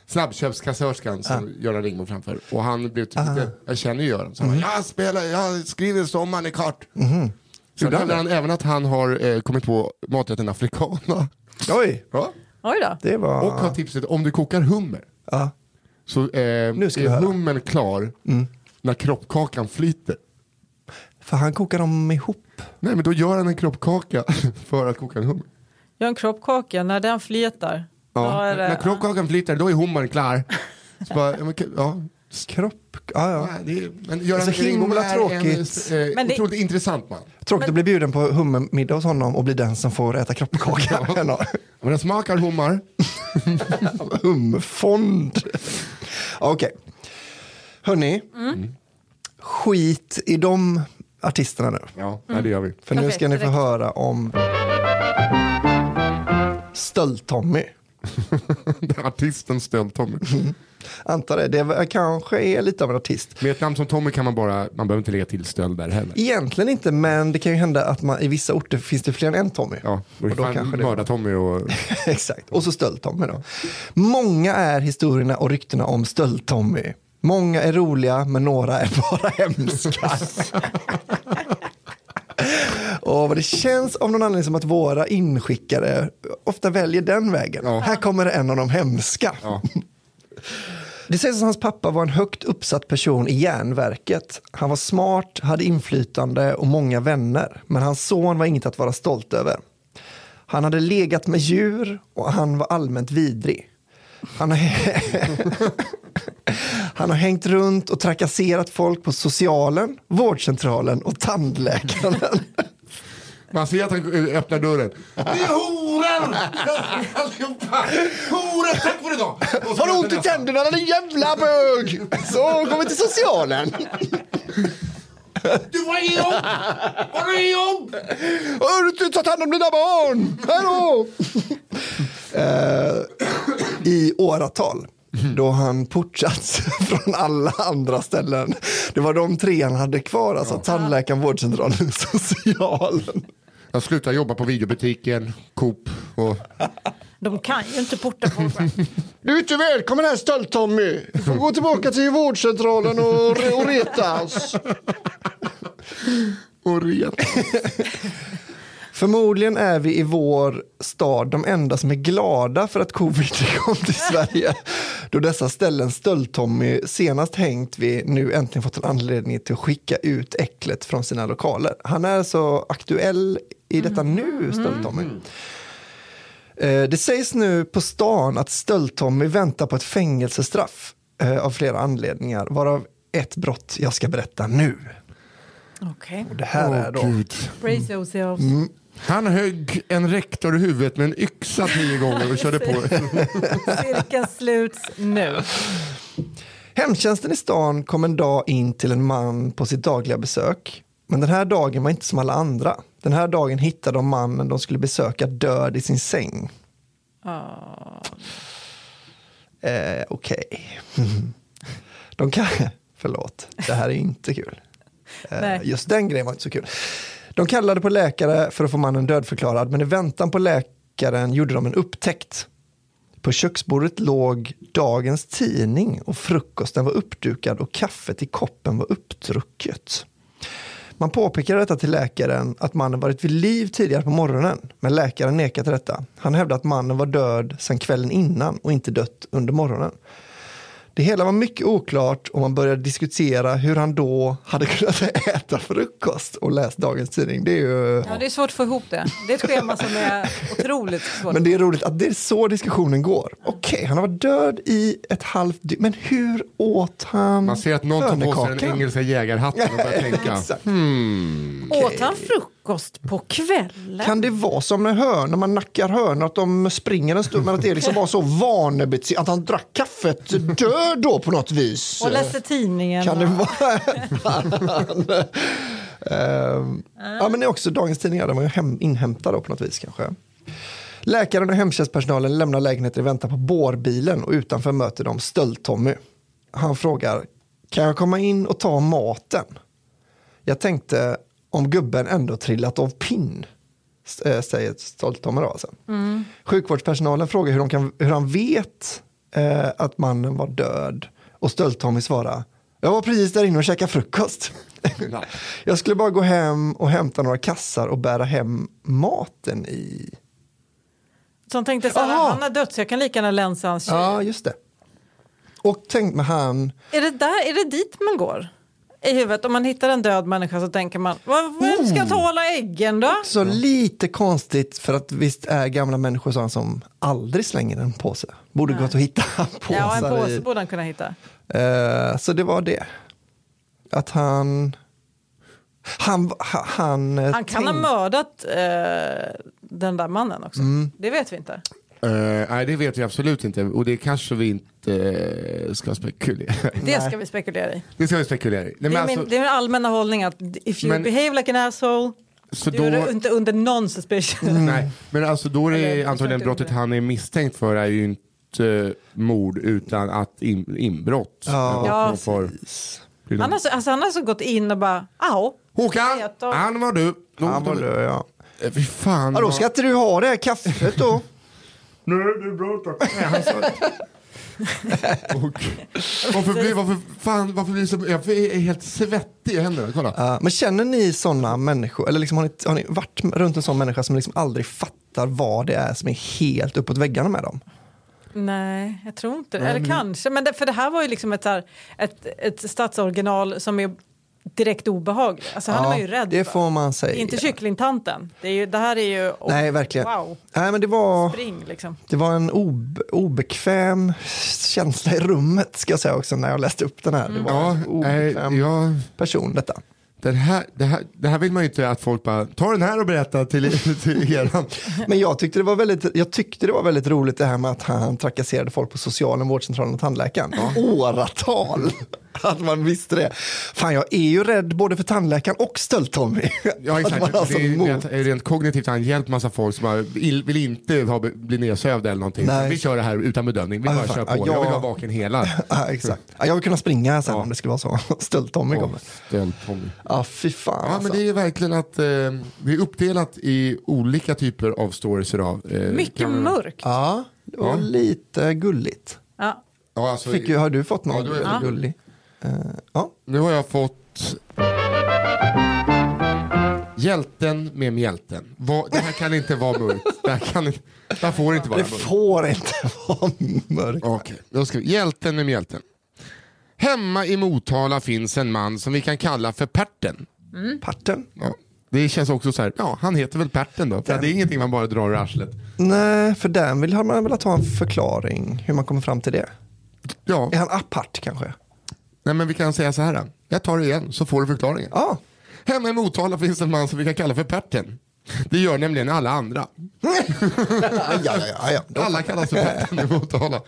S2: Snabbköpskassörskan som Göran Ringmo framför. Och han blev typ lite, jag känner ju Göran. Så han
S4: Mm.
S2: bara, jag spelar, jag skriver sommaren i kart.
S4: Mm-hmm.
S2: Sen hävdar han även att han har eh, kommit på maträtten afrikana.
S4: Oj,
S2: Ja.
S3: Oj då.
S4: det var...
S2: Och har tipset, om du kokar hummer.
S4: Ja.
S2: Så eh,
S4: Nu ska
S2: är
S4: vi höra. Mm.
S2: hummern klar när kroppkakan flyter.
S4: För han kokar dem ihop.
S2: Nej men då gör han en kroppkaka *laughs* för att koka en hummer.
S3: Jag har en kroppkaka, när den flyter. då
S2: Ja.
S3: är det-
S2: När kroppkakan flyter då är hummern klar. Så bara, ja, men, ja.
S4: Kropp... Ja, ja.
S2: Nej, det är, men Göran
S4: Det är så
S2: Ringmo
S4: himla
S2: är
S4: tråkigt.
S2: En, eh,
S3: Men det-
S2: Otroligt intressant man.
S4: Tråkigt att bli bjuden på hummermiddag hos honom och bli den som får äta kroppkaka. *laughs* Ja.
S2: Men den smakar hummar.
S4: Humfond. Ja, Okej. Hörni, skit i de artisterna nu.
S2: Ja, nej, det gör *laughs* vi.
S4: För nu
S3: Okej,
S4: ska ni få
S3: direkt.
S4: höra om Stöld-Tommy.
S2: Artisten stöld Tommy.
S4: Antar det. Det var- kanske är lite av en artist.
S2: Med ett namn som Tommy kan man bara, man behöver inte lägga till stöld där heller.
S4: Egentligen inte, men det kan ju hända att man, i vissa orter finns det fler än en Tommy.
S2: Ja, då
S4: och då kanske det
S2: Mörda-Tommy och...
S4: *laughs* Exakt, och så stöld-Tommy då. Många är historierna och ryktena om stöld-Tommy. Många är roliga, men några är bara *laughs* hemska. och vad det känns av någon anledning som att våra inskickare ofta väljer den vägen.
S2: Ja.
S4: Här kommer en av de hemska.
S2: Ja.
S4: Det sägs att hans pappa var en högt uppsatt person i järnverket. Han var smart, hade inflytande och många vänner. Men hans son var inget att vara stolt över. Han hade legat med djur och han var allmänt vidrig. Han har, *laughs* han har hängt runt och trakasserat folk på socialen, vårdcentralen och tandläkaren.
S2: Man ser att han eh, öppnar dörren. Ni är horor! Allihopa! Horor, tack för idag! Och så
S4: Har du ont i tänderna den jävla bög? Så, kom till socialen.
S2: Du, vad är jobb? Vad är jobb?
S4: Har du inte tagit hand om dina barn? Hallå! eh, I åratal. Då han portats *laughs* från alla andra ställen. Det var de tre han hade kvar, alltså tandläkaren, vårdcentralen och socialen.
S2: Jag slutar jobba på videobutiken, Coop och...
S3: De kan ju inte porta folk.
S2: *laughs*
S1: Du är inte välkommen här stöld-Tommy. Du får gå tillbaka till vårdcentralen och, och retas.
S2: Och ret.
S4: *laughs* Förmodligen är vi i vår stad de enda som är glada för att covid kom till Sverige. Då dessa ställen Stöld-Tommy senast hängt vid nu äntligen fått en anledning till att skicka ut äcklet från sina lokaler. Han är så aktuell i detta nu, Stöld-Tommy. Eh, Det sägs nu på stan att Stöld-Tommy väntar på ett fängelsestraff eh, av flera anledningar, varav ett brott jag ska berätta nu.
S3: Okej.
S4: Det här är då...
S2: Gud.
S3: Brace yourselves.
S2: Mm. Han högg en rektor i huvudet med en yxa tio gånger och körde på.
S3: *laughs* Cirkeln sluts nu.
S4: Hemtjänsten i stan kom en dag in till en man på sitt dagliga besök. Men den här dagen var inte som alla andra. Den här dagen hittade de mannen de skulle besöka död i sin säng. Eh, Okej. *laughs* De kan... *laughs* Förlåt, det här är inte kul.
S3: Nej.
S4: Eh, just den grejen var inte så kul. De kallade på läkare för att få mannen dödförklarad, men i väntan på läkaren gjorde de en upptäckt. På köksbordet låg dagens tidning och frukosten var uppdukad och kaffet i koppen var uppdrucket. Man påpekade detta till läkaren att mannen varit vid liv tidigare på morgonen, men läkaren nekade till detta. Han hävdade att mannen var död sedan kvällen innan och inte dött under morgonen. Det hela var mycket oklart och man började diskutera hur han då hade *laughs* kunnat äta frukost och läst dagens tidning. Det är ju...
S3: Ja, det är svårt att få ihop det. Det är ett schema som är otroligt svårt.
S4: Men det är roligt att det är så diskussionen går. Okej, han har varit död i ett halvt dygn, men hur åt han
S3: Mm.
S2: Man ser att någon tar på sig den
S3: *laughs*
S4: bönekakan?
S2: engelska jägarhatten och börjar tänka.
S4: Exakt.
S3: Åt han frukost på kvällen?
S4: Kan det vara som med hönor, man nackar hönor, att de springer en stund, men att det liksom var så vanebete att han drack kaffet död då på något vis?
S3: Och läste tidningen.
S4: Kan det
S3: och-
S4: vara... *laughs* Ehm, ja, men det är också dagens tidningar, de är ju hem, inhämtade då på något vis kanske. Läkaren och hemtjänstpersonalen lämnar lägenheten i väntan på bårbilen och utanför möter de stöld-Tommy. Han frågar, kan jag komma in och ta maten? Jag tänkte om gubben ändå trillat av pinn, s- eh, säger stöld-Tommy då alltså. Sjukvårdspersonalen frågar hur, de kan, hur han vet eh, att mannen var död och stöld-Tommy svarar, jag var precis där inne och käkade frukost. *laughs* jag skulle bara gå hem och hämta några kassar och bära hem maten i.
S3: Så han tänkte så här,
S4: Aha.
S3: han har dött så jag kan lika gärna länsa hans tjej.
S4: Ja, just det. Och tänk med han,
S3: Är, det där, är det dit man går? I huvudet, om man hittar en död människa så tänker man, "Vad- vem
S4: Oh.
S3: ska ta alla äggen då?
S4: så lite konstigt för att visst är gamla människor sådana som aldrig slänger en påse. Borde gått att hitta påsar
S3: Ja, en
S4: i.
S3: påse borde han kunna hitta.
S4: Eh, så det var det. Att han... Han... Han, han, eh,
S3: Han kan ha
S4: tänk-
S3: mördat eh, den där mannen också.
S4: Mm.
S3: Det vet vi inte.
S2: Eh, nej, det vet vi absolut inte. Och det kanske vi inte eh, ska spekulera i. *laughs*
S3: Det ska vi spekulera i.
S2: Det ska vi spekulera i. Nej,
S3: Det
S2: men
S3: är, min,
S2: alltså,
S3: det är min allmänna hållning att if you
S2: Men-
S3: behave like an asshole,
S2: så
S3: du är
S2: då,
S3: inte under någon suspicion.
S4: Mm.
S2: nej, men alltså då är
S3: Eller,
S2: det
S3: jag
S2: antagligen
S3: tror inte
S2: brottet
S3: det.
S2: han är misstänkt för är ju inte eh, mord utan att in, inbrott. Eh,
S4: Ja.
S3: Ja,
S2: Och för-
S3: Han har, så- alltså, han har så gått in och bara, "Au."
S2: Håkan,
S3: Jag tar-
S2: han var du. Då-
S4: Han var död, ja.
S2: Eh, Fy fan.
S4: ja. Då
S2: vad-
S4: ska inte du ha det här kaffet *laughs* då?
S2: Nej, det är bra tack. *laughs* Och, varför, blir, varför, fan, varför blir det så, jag är helt svettig i händerna, kolla.
S4: Ja, Eh, men känner ni sådana människor, eller liksom har, ni, har ni varit runt en sån människa som liksom aldrig fattar vad det är som är helt uppåt väggarna med dem?
S3: Nej, jag tror inte det. Eller kanske. Men det, för det här var ju liksom ett, så här, ett, ett stadsoriginal som är direkt obehaglig. Alltså han är man ju rädd
S4: det
S3: för.
S4: får man
S3: Det är
S4: säga.
S3: inte kycklingtanten. Det, är ju, det här är ju... oh,
S4: Nej, verkligen.
S3: Wow,
S4: Nej, men det var...
S3: spring liksom.
S4: Det var en ob obekväm känsla i rummet ska jag säga också när jag läste upp den här. Det var
S2: Ja,
S4: en
S2: eh,
S4: obekväm
S2: ja
S4: person detta.
S2: den här, det, här, det här vill man ju inte att folk bara, ta den här och berätta till, till
S4: *laughs*
S2: er.
S4: Men jag tyckte, det var väldigt, jag tyckte det var väldigt roligt det här med att han trakasserade folk på socialen, vårdcentralen och tandläkaren. Åratal! Att man visste det. Fan, jag är ju rädd både för tandläkaren och stöld-Tommy.
S2: Ja,
S4: Att man har
S2: exakt. Det
S4: sån
S2: är, ju
S4: mot.
S2: rent, rent kognitivt har han hjälpt massa folk som har, vill vill inte ha, bli nedsövda eller någonting.
S4: Nej.
S2: Vi kör det här utan bedömning, vi
S4: Ja,
S2: bara
S4: fan.
S2: kör på.
S4: Ja,
S2: Jag vill ha
S4: jag-
S2: vaken hela.
S4: *laughs* Ja, exakt. Ja, jag vill kunna springa sen
S2: Ja.
S4: om det skulle vara så. Stöld-Tommy kommer.
S2: Stöld, Tommy.
S4: Ja, fy fan
S2: Ja,
S4: alltså.
S2: men det är ju verkligen att eh, det är uppdelat i olika typer av stories idag. Eh,
S3: Mycket
S2: kan-
S3: mörkt.
S4: Ja, det var
S2: Ja.
S4: lite gulligt.
S3: Ja.
S2: Ja, alltså,
S4: Fick ju, har du fått
S2: Ja,
S4: någon
S2: då är det-
S4: gullig? Eh, ja.
S2: Nu har jag fått Hjälten med mjälten. Vad- det här kan inte vara mörkt. Det här, kan, inte- det här får inte vara
S4: Det
S2: mörkt.
S4: får inte *laughs* vara mörkt.
S2: Okej, då ska vi. Hjälten med mjälten. Hemma i Motala finns en man som vi kan kalla för Perten.
S3: Mm.
S4: Parten?
S2: Ja. Det känns också så här, ja han heter väl Perten då. För det är ingenting man bara drar ur arslet.
S4: Nej, för den vill, har man velat ha en förklaring hur man kommer fram till det.
S2: Ja,
S4: Är han apart kanske?
S2: nej men vi kan säga så här. då. Jag tar det igen så får du förklaringen.
S4: Ja.
S2: Hemma i Motala finns en man som vi kan kalla för Perten. Det gör nämligen alla andra.
S4: Ja, ja, ja, ja. Då-
S2: Alla kallas för Patton i Motala.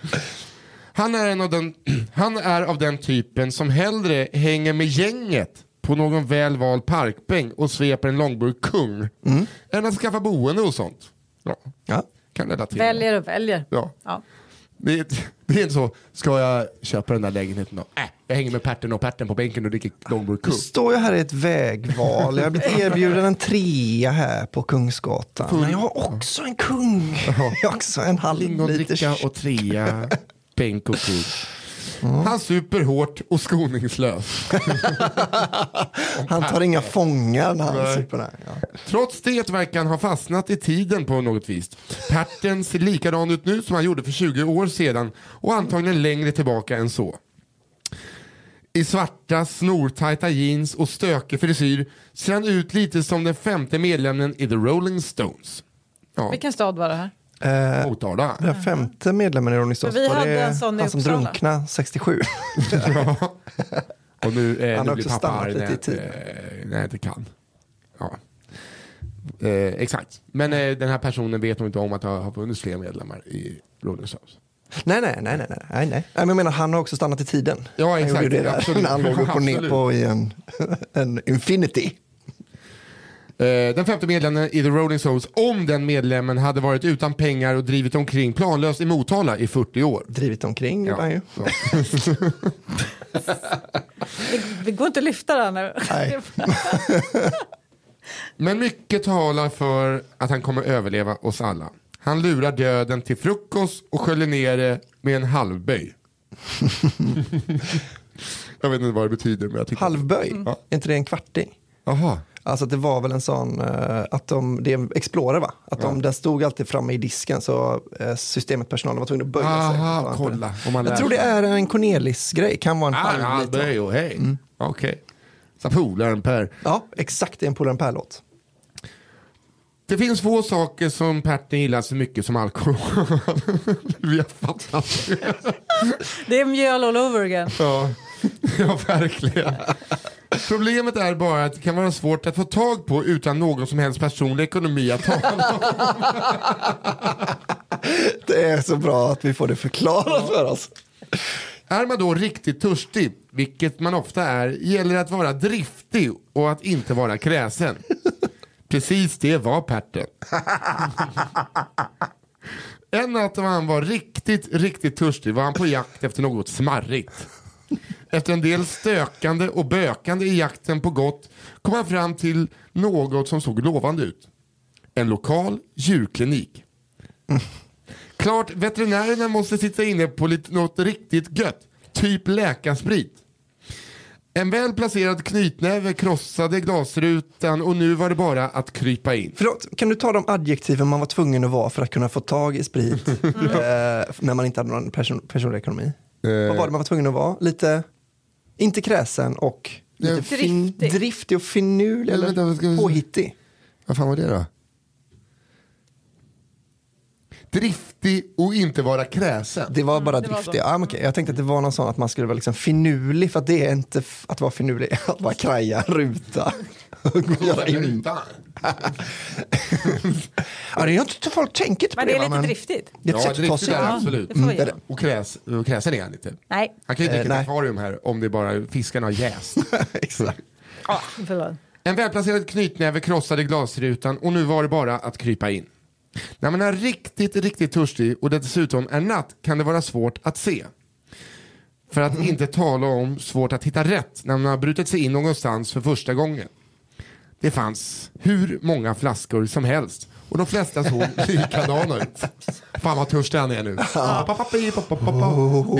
S2: Han är, en av den, *clears throat* han är av den typen som hellre hänger med gänget på någon väl vald parkbänk och sveper en långburk kung
S4: Mm.
S2: än att skaffa boende och sånt. Ja,
S4: Ja.
S2: kan relatera.
S3: Väljer och väljer.
S2: Ja.
S3: Ja.
S2: Det, är- det är inte så, ska jag köpa den där lägenheten då? Äh, jag hänger med Perten och Perten på bänken och dricker långburk
S4: Nu
S2: kung.
S4: står jag här i ett vägval. Jag har blivit erbjuden en trea här på Kungsgatan. Men jag har också en kung. Jag har också en halv
S2: Lingondricka
S4: liter.
S2: och trea, bänk och kung. Han super hårt och skoningslöst.
S4: Han tar inga fångar när han
S2: Nej.
S4: super där. Ja.
S2: Trots det verkar han ha fastnat i tiden på något vis. Patton ser likadan ut nu som han gjorde för 20 år sedan och antagligen längre tillbaka än så. I svarta, snortajta jeans och stökig frisyr ser han ut lite som den femte medlemmen i The Rolling Stones. Ja,
S3: Vilken stad var det här?
S4: Eh,
S2: Motala.
S4: den femte medlemmen i Ronny Stoss,
S3: Men vi
S4: var
S3: hade
S4: det
S3: en sån i
S4: han som
S3: Uppsala.
S4: drunknade 67?
S2: Och nu, eh,
S4: Han
S2: nu *laughs* blir
S4: har också
S2: eh, pappa
S4: stannat
S2: arg när,
S4: lite i
S2: jag inte-
S4: tid.
S2: eh, när jag inte kan. ja. Eh, exakt. Men eh, den här personen vet nog inte om att det har funnits fler medlemmar i Rolling Stones.
S4: Nej, nej, nej, nej, nej, nej, nej. Men jag menar, han har också stannat i tiden.
S2: Ja,
S4: Han
S2: exakt.
S4: gjorde ju det där
S2: Absolut.
S4: när han låg upp och ner på i en, *laughs* en infinity.
S2: Eh, Den femte medlemmen i The Rolling Stones, om den medlemmen hade varit utan pengar och drivit omkring planlöst i Motala i 40 år.
S4: Drivit omkring gjorde han ju.
S2: Så.
S3: Det, det går inte att lyfta den nu.
S4: Nej.
S2: Men mycket talar för att han kommer överleva oss alla. Han lurar döden till frukost och sköljer ner det med en halvböj. *laughs* jag vet inte vad det betyder men jag tycker...
S4: Halvböj,
S2: Mm.
S4: är inte det en kvarting?
S2: Aha.
S4: Alltså att det var väl en sån, eh, att de, det är en Explorer va? Att de, den stod alltid framme i disken så eh, systemet personalen var tvungen att böja sig.
S2: Aha,
S4: Fan.
S2: kolla. Om man lär
S4: Jag tror det
S2: sig.
S4: är en Cornelis-grej, kan vara en Mm.
S2: Ah, en
S4: halv liter.
S2: halvböj och hej. Okej. Så polaren Per.
S4: Ja, exakt, det är en Polar Per-låt.
S2: Det finns få saker som Pertin gillar så mycket som alkohol. *laughs* Vi har fattat.
S3: *laughs* Det är mjöl all over again.
S2: Ja, *laughs* ja verkligen. Problemet är bara att det kan vara svårt att få tag på utan någon som helst personlig ekonomi att tala om.
S4: Det är så bra att vi får det förklarat för oss.
S2: Är man då riktigt törstig, vilket man ofta är, gäller att vara driftig och att inte vara kräsen. Precis det var Perten. En natt när han var riktigt, riktigt törstig var han på jakt efter något smarrigt. Efter en del stökande och bökande i jakten på gott kom han fram till något som såg lovande ut. En lokal djurklinik. Klart veterinärerna måste sitta inne på lite, något riktigt gött. Typ läkarsprit. En väl placerad knytnäve krossade glasrutan och nu var det bara att krypa in.
S4: Förlåt, kan du ta de adjektiven man var tvungen att vara för att kunna få tag
S2: *laughs*
S4: i sprit eh, när man inte hade någon person, personlig ekonomi?
S2: Eh.
S4: Vad var det man var tvungen att vara? Lite, inte kräsen och lite fin,
S3: Driftig.
S4: driftig och finurlig
S2: Eller vänta, vad ska vi-
S4: eller påhittig.
S2: Vad fan var det då? Driftig och inte vara kräsen.
S4: Det var bara
S3: Mm, det var
S4: driftig. Ah, men okej. Jag tänkte att det var någon sån att man skulle vara liksom finurlig för att det är inte f- att vara finurlig, *laughs* att bara kraja ruta. Och göra in.
S2: Rutan.
S4: Ja, det är inte folk tänker inte på
S3: Men det är
S4: va,
S3: lite driftigt.
S4: Det är
S2: Ja,
S4: ett sätt att ta
S2: driftig
S4: sig
S2: är det,
S4: an.
S2: absolut.
S3: det får vi
S4: Mm,
S3: ge
S4: det-
S3: dem.
S2: Och, kräs, och kräsen är han inte.
S3: Nej,
S2: Han kan ju dricka
S4: Eh,
S2: ett
S4: nej.
S2: akvarium här om det bara fiskarna har jäst.
S4: *laughs* Exakt.
S3: ah, förlåt.
S2: En välplacerad knytnäve krossade glasrutan och nu var det bara att krypa in. När man är riktigt, riktigt törstig och det dessutom är natt kan det vara svårt att se. För att inte tala om svårt att hitta rätt när man har brutit sig in någonstans för första gången. Det fanns hur många flaskor som helst och de flesta
S4: *laughs*
S2: såg likadana ut. Fan vad törstig han är nu. Ah, Det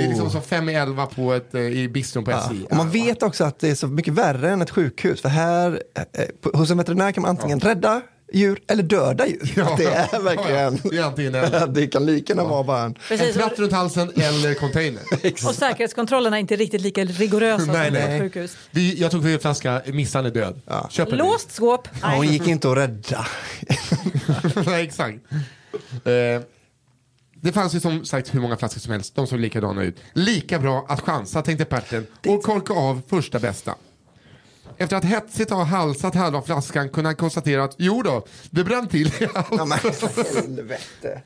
S2: är liksom som fem i elva på ett, eh, i bistron på SJ.
S4: Och man vet också att det är så mycket värre än ett sjukhus. För här, eh, på, hos en veterinär kan man antingen rädda djur eller döda djur. Att det är verkligen...
S2: Det är antingen
S4: *laughs*
S2: eller.
S4: det kan lika gärna vara bara en...
S2: En
S3: Precis.
S2: tratt
S3: Och,
S2: runt halsen eller container.
S3: och säkerhetskontrollerna är inte riktigt lika rigorösa
S2: Nej,
S3: Alltså, som på
S2: nej.
S3: ett sjukhus.
S2: Vi, jag tog fel flaska, missan är död. Köp en ny. *laughs*
S3: Låst skåp.
S4: Ja, Hon
S3: Nej.
S4: gick inte att rädda.
S2: Nej, exakt. Eh, det fanns ju som sagt hur många flaskor som helst, de såg likadana ut. Lika bra att chansa tänkte Perten och korka av första bästa. Efter att hetsigt ha halsat halva flaskan kunde han konstatera att jo då, det brann till i halsen.
S4: Ja, men helvete.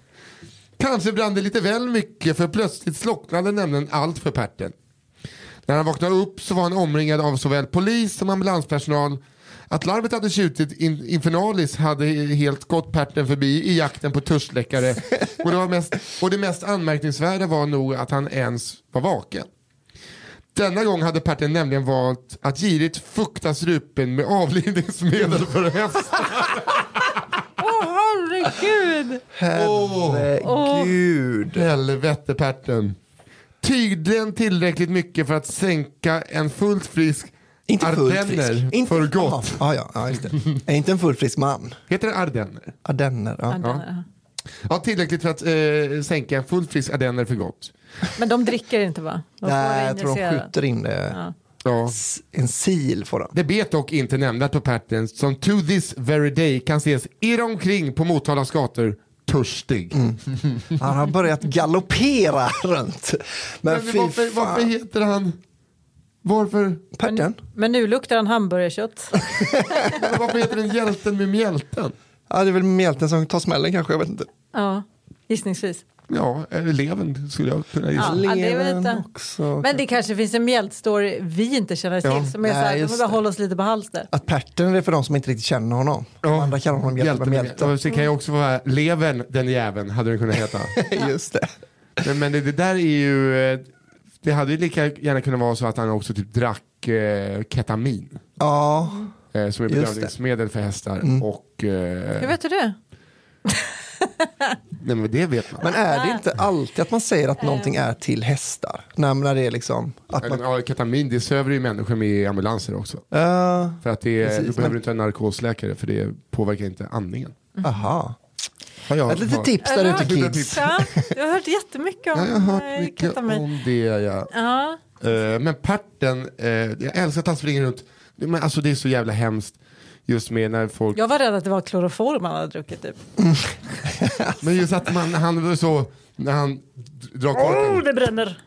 S2: Kanske brann det lite väl mycket för plötsligt slocknade nämligen allt för Perten. När han vaknade upp så var han omringad av såväl polis som ambulanspersonal. Att larmet hade tjutit in, infernalis hade helt gått Perten förbi i jakten på törstläckare. Och det, var mest, och det mest anmärkningsvärda var nog att han ens var vaken. Denna gång hade Perten nämligen valt att girigt fukta strupen med avledningsmedel för hästar.
S3: Åh,
S4: *laughs*
S3: herregud!
S4: Herregud.
S2: Helvete Perten. Tydligen tillräckligt mycket för att sänka en fullt frisk
S4: Inte fullt frisk.
S2: ardenner
S4: Inte-
S2: för gott.
S4: Ja, ja, ja, just det. Är inte en fullt frisk man?
S2: Heter det ardenner?
S4: Ardenner. Ja.
S3: Ja.
S2: Ja, tillräckligt för att eh, sänka en fullt frisk ardenner för gott.
S3: Men de dricker inte va? De får
S4: Nej,
S3: det
S4: jag tror de
S3: injicerat.
S4: skjuter in det.
S2: Ja.
S4: S- En sil får de.
S2: Det bet dock inte nämnvärt på Perten som to this very day kan ses irra omkring på Motalas gator törstig.
S4: Mm. Han har börjat galoppera runt. Men,
S2: Men
S4: fy
S2: varför,
S4: fan.
S2: varför heter han... Varför,
S4: Pärten?
S3: Men nu luktar han
S4: *laughs*
S3: hamburgerkött.
S2: varför heter den Hjälten med mjälten?
S4: Ja, det är väl mjälten som tar smällen kanske, jag vet inte.
S3: Ja, gissningsvis.
S2: Ja, eller levern skulle jag kunna gissa.
S3: Ja, ja, det är väl
S4: Levern
S3: inte.
S4: också.
S3: Men det kanske finns en mjältstory vi inte känner till som är så
S4: nej,
S3: här, vi
S4: just
S3: bara
S4: det.
S3: hålla oss lite på halster.
S4: Att Pärten är för de som inte riktigt känner honom. De
S2: Ja.
S4: andra kallar honom hjälte med mjälten.
S2: Ja, så kan ju också vara Levern den jäveln hade den kunnat heta. *laughs*
S4: Just det.
S2: men, men det, det där är ju, eh, det hade ju lika gärna kunnat vara så att han också typ drack eh, ketamin.
S4: Ja,
S2: Eh, som är
S4: Just det.
S2: bedövningsmedel för hästar. Och,
S3: Hur
S2: eh,
S3: vet du det?
S2: nej men det vet *laughs* man.
S4: men är det inte alltid att man säger att någonting är till hästar? Nej, men när det är liksom att
S2: Eller,
S4: man...
S2: Ja, ketamin det söver ju människor med i ambulanser också.
S4: Uh,
S2: För att det är,
S4: Precis,
S2: du behöver
S4: men-
S2: inte ha en narkosläkare för det påverkar inte andningen.
S4: aha.
S2: Har jag
S4: Ett litet
S2: hört.
S4: tips där
S3: Har
S4: ute
S3: du hört
S4: kids.
S3: Ja, du har hört jättemycket om
S2: Ja, jag har
S3: eh,
S2: hört mycket
S3: ketamin.
S2: om det. Ja.
S3: Ja,
S2: Eh, men Parten, eh, jag älskar att han springer runt. Men alltså det är så jävla hemskt. Just med när folk,
S3: jag var rädd att det var kloroform han hade druckit typ.
S2: men just att man, han var så, när han d- drar korken
S3: Oh, det bränner!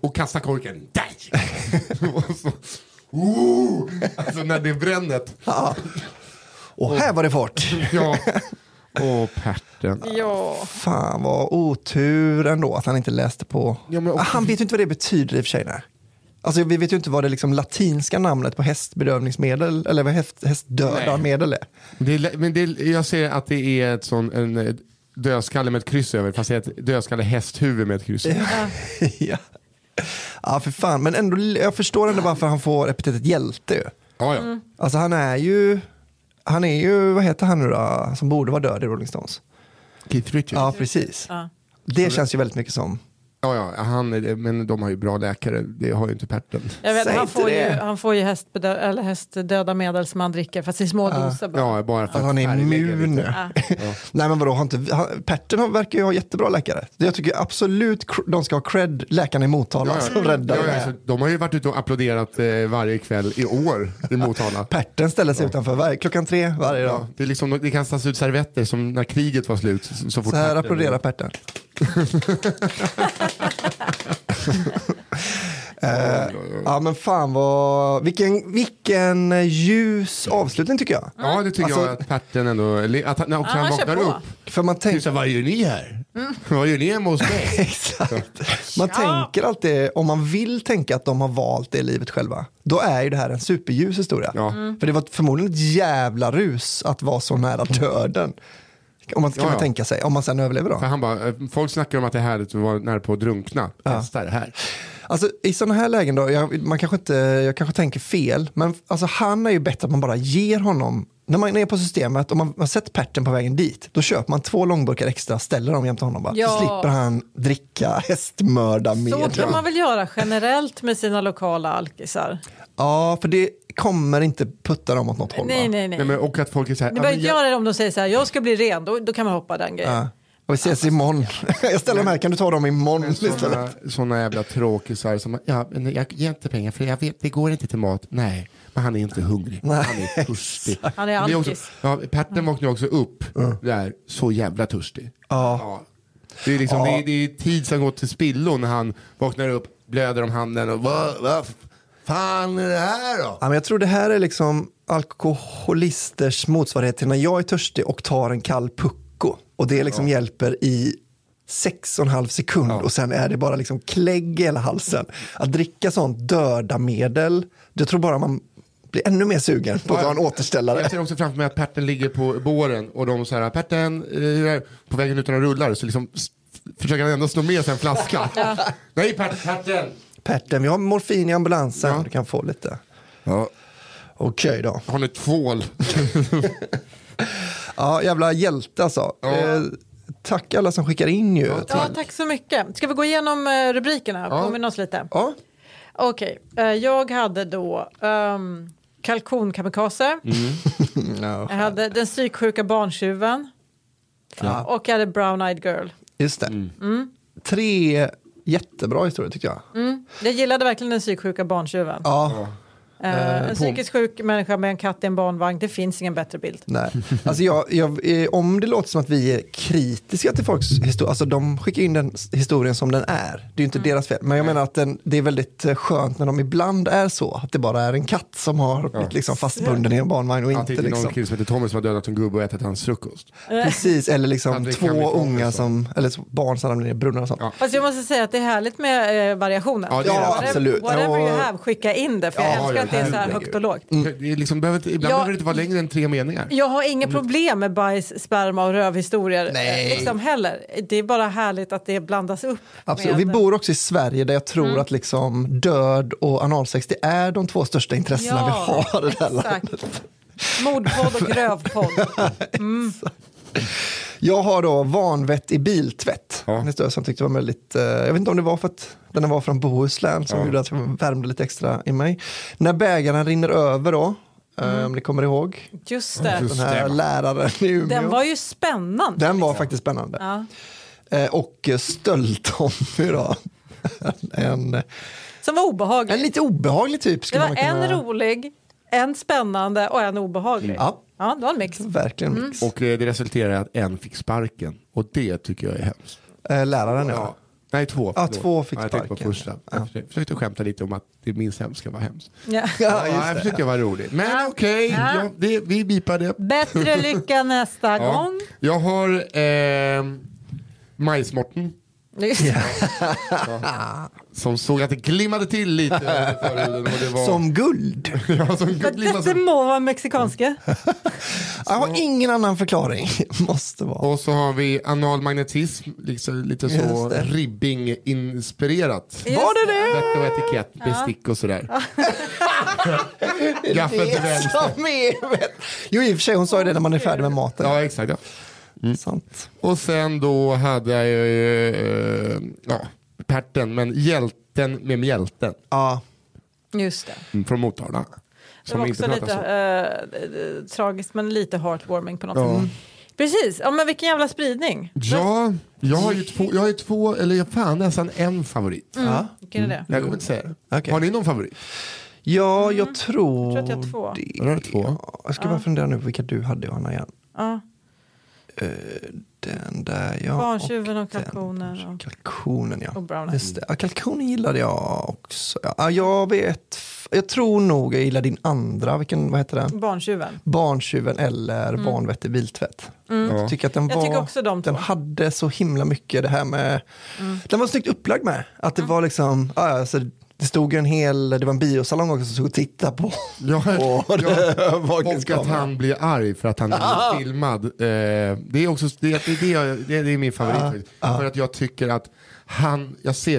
S2: och kastar korken. Där! *laughs* och så, oh! Alltså när det är brännet.
S4: Och här var det fart.
S2: Ja. Åh Parten.
S3: Ja.
S4: Fan vad otur ändå att han inte läste på.
S2: Ja, men-
S4: Ah, Han vet ju inte vad det betyder i och för sig. nej. Alltså, vi vet ju inte vad det liksom latinska namnet på hästbedövningsmedel eller vad häst, hästdödarmedel är.
S2: Det är, lä- men det är, jag ser att det är ett sån, en eh, dödskalle med ett kryss över. Fast det är ett dödskalle hästhuvud med ett kryss över.
S4: *laughs* ja. ja, för fan. Men ändå, jag förstår ändå varför han får epitetet hjälte. ju.
S2: Ja, ja.
S4: Alltså han är ju, han är ju, vad heter han nu då, som borde vara död i Rolling Stones?
S2: Keith Richards.
S4: Ja, precis.
S3: Ja.
S4: Det känns ju väldigt mycket som,
S2: Ja, ja, han, är- men de har ju bra läkare. Det har ju inte Perten.
S3: Jag vet,
S4: Säg
S3: han,
S4: inte
S3: får ju,
S4: det.
S3: han får ju hästbedö- eller hästdöda medel som han dricker fast i små doser. bara.
S2: Ja, bara för
S4: att han är
S2: färglägga lite.
S4: immun. *laughs* Nej men vadå, har inte, han, Pertten har- verkar ju ha jättebra läkare. Jag tycker absolut cr- de ska ha cred, läkarna i Motala som räddar
S2: ja,
S4: det
S2: ja,
S4: här.
S2: alltså, De har ju varit ute och applåderat eh, varje kväll i år i
S4: *laughs*
S2: Motala.
S4: Pertten ställer sig utanför varje, klockan tre varje dag.
S2: Ja, det, är liksom, det kastas ut servetter som när kriget var slut. Så, så fort
S4: Så här
S2: Perten- *laughs*
S4: applåderar Pertten. Eh, ja men fan vad, vilken, vilken ljus avslutning tycker jag.
S2: Ja, det tycker jag
S4: Alltså-
S2: att Perten ändå, eller att han, när också
S3: Ja,
S2: han
S3: han kör
S2: vaknar
S3: på.
S2: upp.
S4: För man
S2: Det är så
S4: tänker,
S2: här, vad gör ni här? Vad gör ni hemma hos mig?
S4: *laughs* exakt. Man tänker alltid, om man vill tänka att de har valt det livet själva, då är ju det här en superljus historia.
S2: Ja. Mm.
S4: För det var förmodligen ett jävla rus att vara så nära döden. Om man, kan
S2: Ja, ja.
S4: man tänka sig, om man sen överlever då.
S2: För han bara, eh, folk snackar om att det är härligt att vara nära på att drunkna. Testa det här.
S4: Alltså, I sådana här lägen då, jag, man kanske inte, jag kanske tänker fel, men alltså, han är ju bättre att man bara ger honom, när man är på systemet och man har sett Perten på vägen dit, då köper man två långburkar extra, ställer dem jämte honom bara,
S3: Ja.
S4: så slipper han dricka
S3: Så
S4: hästmördarmedel.
S3: kan man väl göra generellt med sina lokala alkisar?
S4: Ja, för det kommer inte putta dem åt något håll.
S3: Nej,
S4: va?
S3: nej,
S2: Nej,
S3: nej.
S2: men, och att folk är så här,
S3: Ni
S2: "Ja,
S3: behöver
S2: men
S3: inte göra det om de säger så här, jag ska bli ren, då, då kan man hoppa den grejen.
S4: Ja. Och vi ses
S3: Alltså,
S4: imorgon. *laughs* jag ställer dem här, kan du ta dem imorgon istället?
S2: Sådana, såna jävla tråkisar som, ja, men jag ger inte pengar för jag vet, det går inte till mat. Nej, men han är inte hungrig.
S4: Nej,
S2: han är törstig.
S3: Han är
S2: Men det också,
S3: alkis.
S2: ja, Perten vaknar också upp där, så jävla törstig. Ja. Det, är liksom, det, är, det är tid som gått till spillo när han vaknar upp, blöder om handen och vad va, fan är det här då?
S4: Ja, men jag tror det här är liksom alkoholisters motsvarighet till när jag är törstig och tar en kall pucko. Och det liksom hjälper i sex och en halv sekund och sen är det bara liksom klägg i hela halsen. Att dricka sånt döda medel, jag tror bara man blir ännu mer sugen på att ta en återställare.
S2: Jag ser också framför mig att Perten ligger på båren och de så här, Perten, eh, hur är det?" på vägen utan att rullar så liksom s- försöker han ändå sno med sig en flaska. Nej Perten, Perten!
S4: Perten, vi har morfin i ambulansen, du kan få lite.
S2: Ja.
S4: Okej då.
S2: Har ni tvål?
S4: Ja, jävla hjälte alltså. Eh, tack alla som skickar in ju.
S3: Ja, tack så mycket. Ska vi gå igenom eh, rubrikerna? Påminna oss lite.
S4: Ja.
S3: Okej, eh, jag hade då um, kalkonkamikaze.
S4: Mm,
S3: Jag hade den psyksjuka barntjuven. Och jag hade brown eyed girl.
S4: Just det. Tre jättebra historier tyckte jag.
S3: Mm. Jag gillade verkligen den psyksjuka barntjuven.
S4: Ja.
S3: Eh, en
S4: på-
S3: psykiskt sjuk människa med en katt i en barnvagn, det finns ingen bättre bild.
S4: Nej. Alltså jag, jag, eh, om det låter som att vi är kritiska till folks historia, alltså de skickar in den s- historien som den är. Det är ju inte deras fel. Men jag menar att den, det är väldigt eh, skönt när de ibland är så, att det bara är en katt som har blivit liksom fastbunden i en barnvagn och
S2: Att det
S4: inte
S2: inte är någon
S4: liksom,
S2: kille som heter Tommy som har dödat en gubbe och ätit hans frukost.
S4: precis, eller
S2: Att
S4: liksom
S2: det
S4: två
S2: kan bli folk
S4: unga
S2: också.
S4: som, eller så- barn som ramlar ner i brunnar och sånt.
S2: Ja.
S3: Fast jag måste säga att det är härligt med eh, variationen.
S2: Ja, det är det.
S3: Whatever-
S4: Absolut.
S3: Whatever you
S4: Ja.
S3: have, skicka in det. För jag
S2: Ja,
S3: älskar
S2: ja,
S3: att det är så här
S2: herregud.
S3: högt och lågt.
S2: Det är liksom, behöver inte, ibland
S3: Ja.
S2: behöver det inte vara längre än tre meningar.
S3: Jag har inga problem med bajs, sperma och rövhistorier.
S4: Nej.
S3: eh, Liksom heller. Det är bara härligt att det blandas upp.
S4: Absolut.
S3: med- Mm.
S4: Vi bor också i Sverige där jag tror att liksom död och analsex det är de två största intressena vi har i det här landet.
S3: exakt. Mordpodd och grövpodd.
S4: Jag har då vanvett i biltvätt.
S2: Ja.
S4: En historia som jag tyckte var väldigt, eh, jag vet inte om det var för att den var från Bohuslän som gjorde att jag värmde lite extra i mig. När bägaren rinner över då, eh,
S3: Mm.
S4: om ni kommer ihåg,
S3: Just det.
S4: den
S2: Just det,
S4: här
S2: va.
S4: läraren i Umeå.
S3: Den var ju spännande.
S4: Den var faktiskt spännande.
S3: Ja.
S4: Eh, och eh, stöld-Tommy då. *laughs* en,
S3: Som var obehaglig.
S4: en lite obehaglig typ.
S3: Det
S4: skulle
S3: var
S4: man
S3: en
S4: kunna...
S3: rolig, en spännande och en obehaglig.
S4: Ja,
S3: Ja, det var en mix.
S4: verkligen
S3: Mm.
S4: mix.
S2: Och eh, det resulterade i att en fick sparken. Och det tycker jag är hemskt.
S4: Eh, läraren ja.
S2: Ja. Nej, två.
S4: Ja,
S2: förlåt.
S4: två fick
S2: Ja, jag tänkte på
S4: sparken.
S2: första. Jag försökte- försökte skämta lite om att det minst hemska var hemskt.
S3: Ja.
S4: Ja,
S2: Ja, jag
S4: just det.
S2: försökte vara rolig. Men
S3: Ja.
S2: okej,
S3: Ja.
S2: ja, det- vi bipar det.
S3: Bättre lycka nästa
S2: Ja.
S3: gång.
S2: Jag har eh, majsmorten som såg att det glimmade till lite över förhuden och det var...
S4: Som guld.
S2: *laughs* ja, som glimmade
S3: Detta
S2: som...
S3: må vara
S4: *laughs*
S3: mexikanska.
S4: Jag har ingen annan förklaring. *laughs* Måste vara.
S2: Och så har vi analmagnetism, liksom, lite så
S4: Just det.
S2: ribbing-inspirerat.
S4: Var det det?
S2: Vett och etikett, bestick och sådär. Gaffel till
S4: Det
S2: vänster.
S4: som är... Jo, i och för sig, hon sa ju det när man är färdig med maten. Mm.
S2: Ja, exakt. Ja.
S4: Sant.
S2: Och sen då hade jag ju, eh, ja, Perten, men hjälten med mjälten
S4: Ja,
S3: Just det.
S4: Mm.
S2: från Motala.
S3: Det var också lite
S2: så.
S3: eh, eh, tragiskt men lite heartwarming på något sätt. Precis, ja, men vilken jävla spridning.
S2: Ja, jag har ju två, jag har ju två eller jag fan nästan en favorit.
S3: Mm.
S4: ja. Mm.
S3: Vilken är det?
S2: Jag kommer inte säga det.
S4: Okej.
S2: Har ni någon favorit?
S4: ja jag tror...
S3: Mm. Jag tror att jag har två.
S2: Jag har två.
S4: Ja, jag ska bara fundera nu på vilka du hade, Johanna. Igen.
S3: Ja.
S4: Den där, ja.
S3: Barntjuven och
S4: den.
S3: kalkonen. Och...
S4: Kalkonen, ja.
S3: Och brownie.
S4: Just det. Ja, kalkonen gillade jag också. Ja, jag vet... f- Jag tror nog jag gillar din andra. Vilken, vad heter den?
S3: Barntjuven.
S4: Barntjuven eller Vanvett i biltvätt. Jag tycker att den var...
S3: Mm. Jag tycker också de två. Mm.
S4: Den hade så himla mycket det här med... Den var snyggt upplagd med. Att det var liksom... Ja, alltså, det stod ju en hel... Det var en biosalong också som stod och tittade på
S2: Ja,
S4: på
S2: ja. Och att
S4: övervakningskameran.
S2: han blir arg för att han blir filmad. Eh, det, är också, det, det, det, är- det, det är min favorit. faktiskt. För att jag tycker att han, jag ser,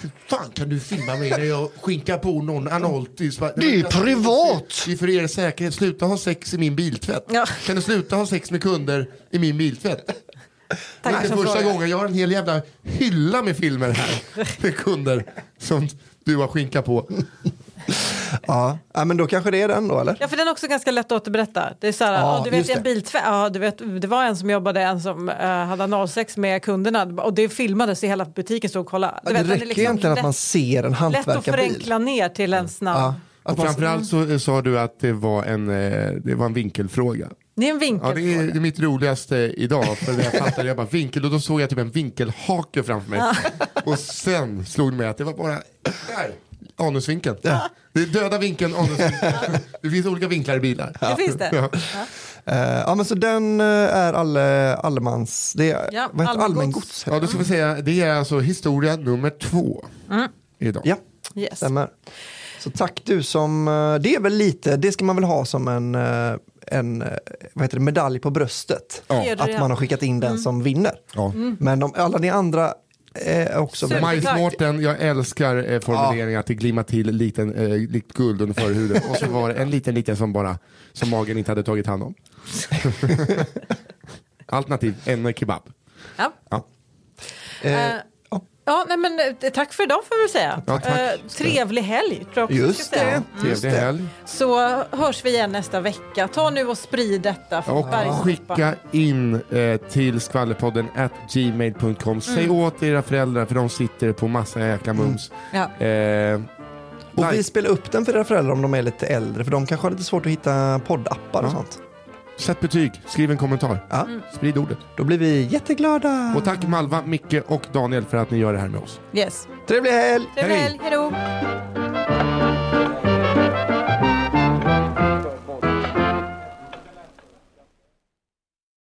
S2: hur fan kan du filma mig när jag skinkar på någon analtis?
S1: Det är privat.
S2: Det är för er säkerhet, sluta ha sex i min biltvätt.
S3: Ja.
S2: Kan du sluta ha sex med kunder i min biltvätt? Det är
S3: Tack
S2: inte
S3: som
S2: första
S3: fråga.
S2: gången, jag har en hel jävla hylla med filmer här. Med kunder som du har skinka på.
S4: Ja. ja, men då kanske det är den då, eller?
S3: Ja, för den är också ganska lätt att återberätta. Det är så här,
S4: Ja,
S3: ja, du vet
S4: just
S3: i en
S4: det.
S3: biltvätt, ja, du vet, det var en som jobbade, en som eh, hade analsex med kunderna och det filmades i hela butiken stod och kollade. Du
S4: det
S3: vet, den är liksom
S4: räcker ju egentligen att man ser en
S3: lätt, lätt att
S4: hantverkarbil.
S3: förenkla ner till en snabb.
S4: Ja. Att
S2: Och
S4: man,
S2: framförallt så eh, sa du att det var en, eh, det var en vinkelfråga.
S3: Det är en
S2: Ja, det är,
S3: vinkelfråga.
S2: det är mitt roligaste idag. För när jag fattade, jag bara vinkel och då såg jag typ en vinkelhake framför mig. Och sen slog det mig att det var bara där, anusvinkeln. Det är döda vinkeln, anusvinkeln. Det finns olika vinklar i bilar.
S3: Det finns det.
S2: Ja.
S4: eh, ja, men så den eh, är alle, allemans... Det är,
S3: Ja,
S4: vad heter det?
S3: allmängods.
S4: allmängods.
S2: Ja, då ska vi säga, det är alltså historia nummer två
S3: Mm.
S2: idag.
S4: Ja,
S3: Yes.
S4: stämmer. Så tack du som... eh, Det är väl lite, det ska man väl ha som en, eh, en eh, vad heter det, medalj på bröstet.
S3: Det gör du
S4: Att
S3: redan. Mm.
S4: man har skickat in den som vinner.
S2: Ja.
S4: Men de, alla ni andra är också...
S3: Super.
S2: Majsmårten, jag älskar eh, formuleringar att det glimmar till liten, eh, likt guld under förhuden. Och så var det en liten, liten som bara, som magen inte hade tagit
S4: *laughs*
S2: hand om. Alternativ, en kebab.
S3: Ja.
S2: Ja.
S4: Eh,
S3: Eh, Ja, nej, men, eh, tack för idag får vi väl säga.
S2: Ja, tack.
S3: Eh, trevlig helg tror jag också vi
S4: just
S3: ska säga.
S4: det. Just
S2: Trevlig
S4: det.
S2: helg.
S3: Så hörs vi igen nästa vecka. Ta nu och sprid detta. För
S2: Och
S3: bergsoppan.
S2: skicka in eh, till skvallerpodden at
S4: Mm.
S2: gmail.com. Säg åt era föräldrar för de sitter på massa jäkla mums.
S3: Ja.
S2: Eh,
S4: Och
S2: Nej.
S4: vi spelar upp den för era föräldrar om de är lite äldre, för de kanske har lite svårt att hitta poddappar och
S2: Ja.
S4: sånt.
S2: Sätt betyg, skriv en kommentar,
S4: Ja.
S3: Mm.
S2: sprid ordet.
S4: Då blir vi jätteglada.
S2: Och tack Malva, Micke och Daniel för att ni gör det här med oss.
S3: Yes.
S4: Trevlig helg!
S3: Trevlig
S2: Hej.
S3: helg, hej då!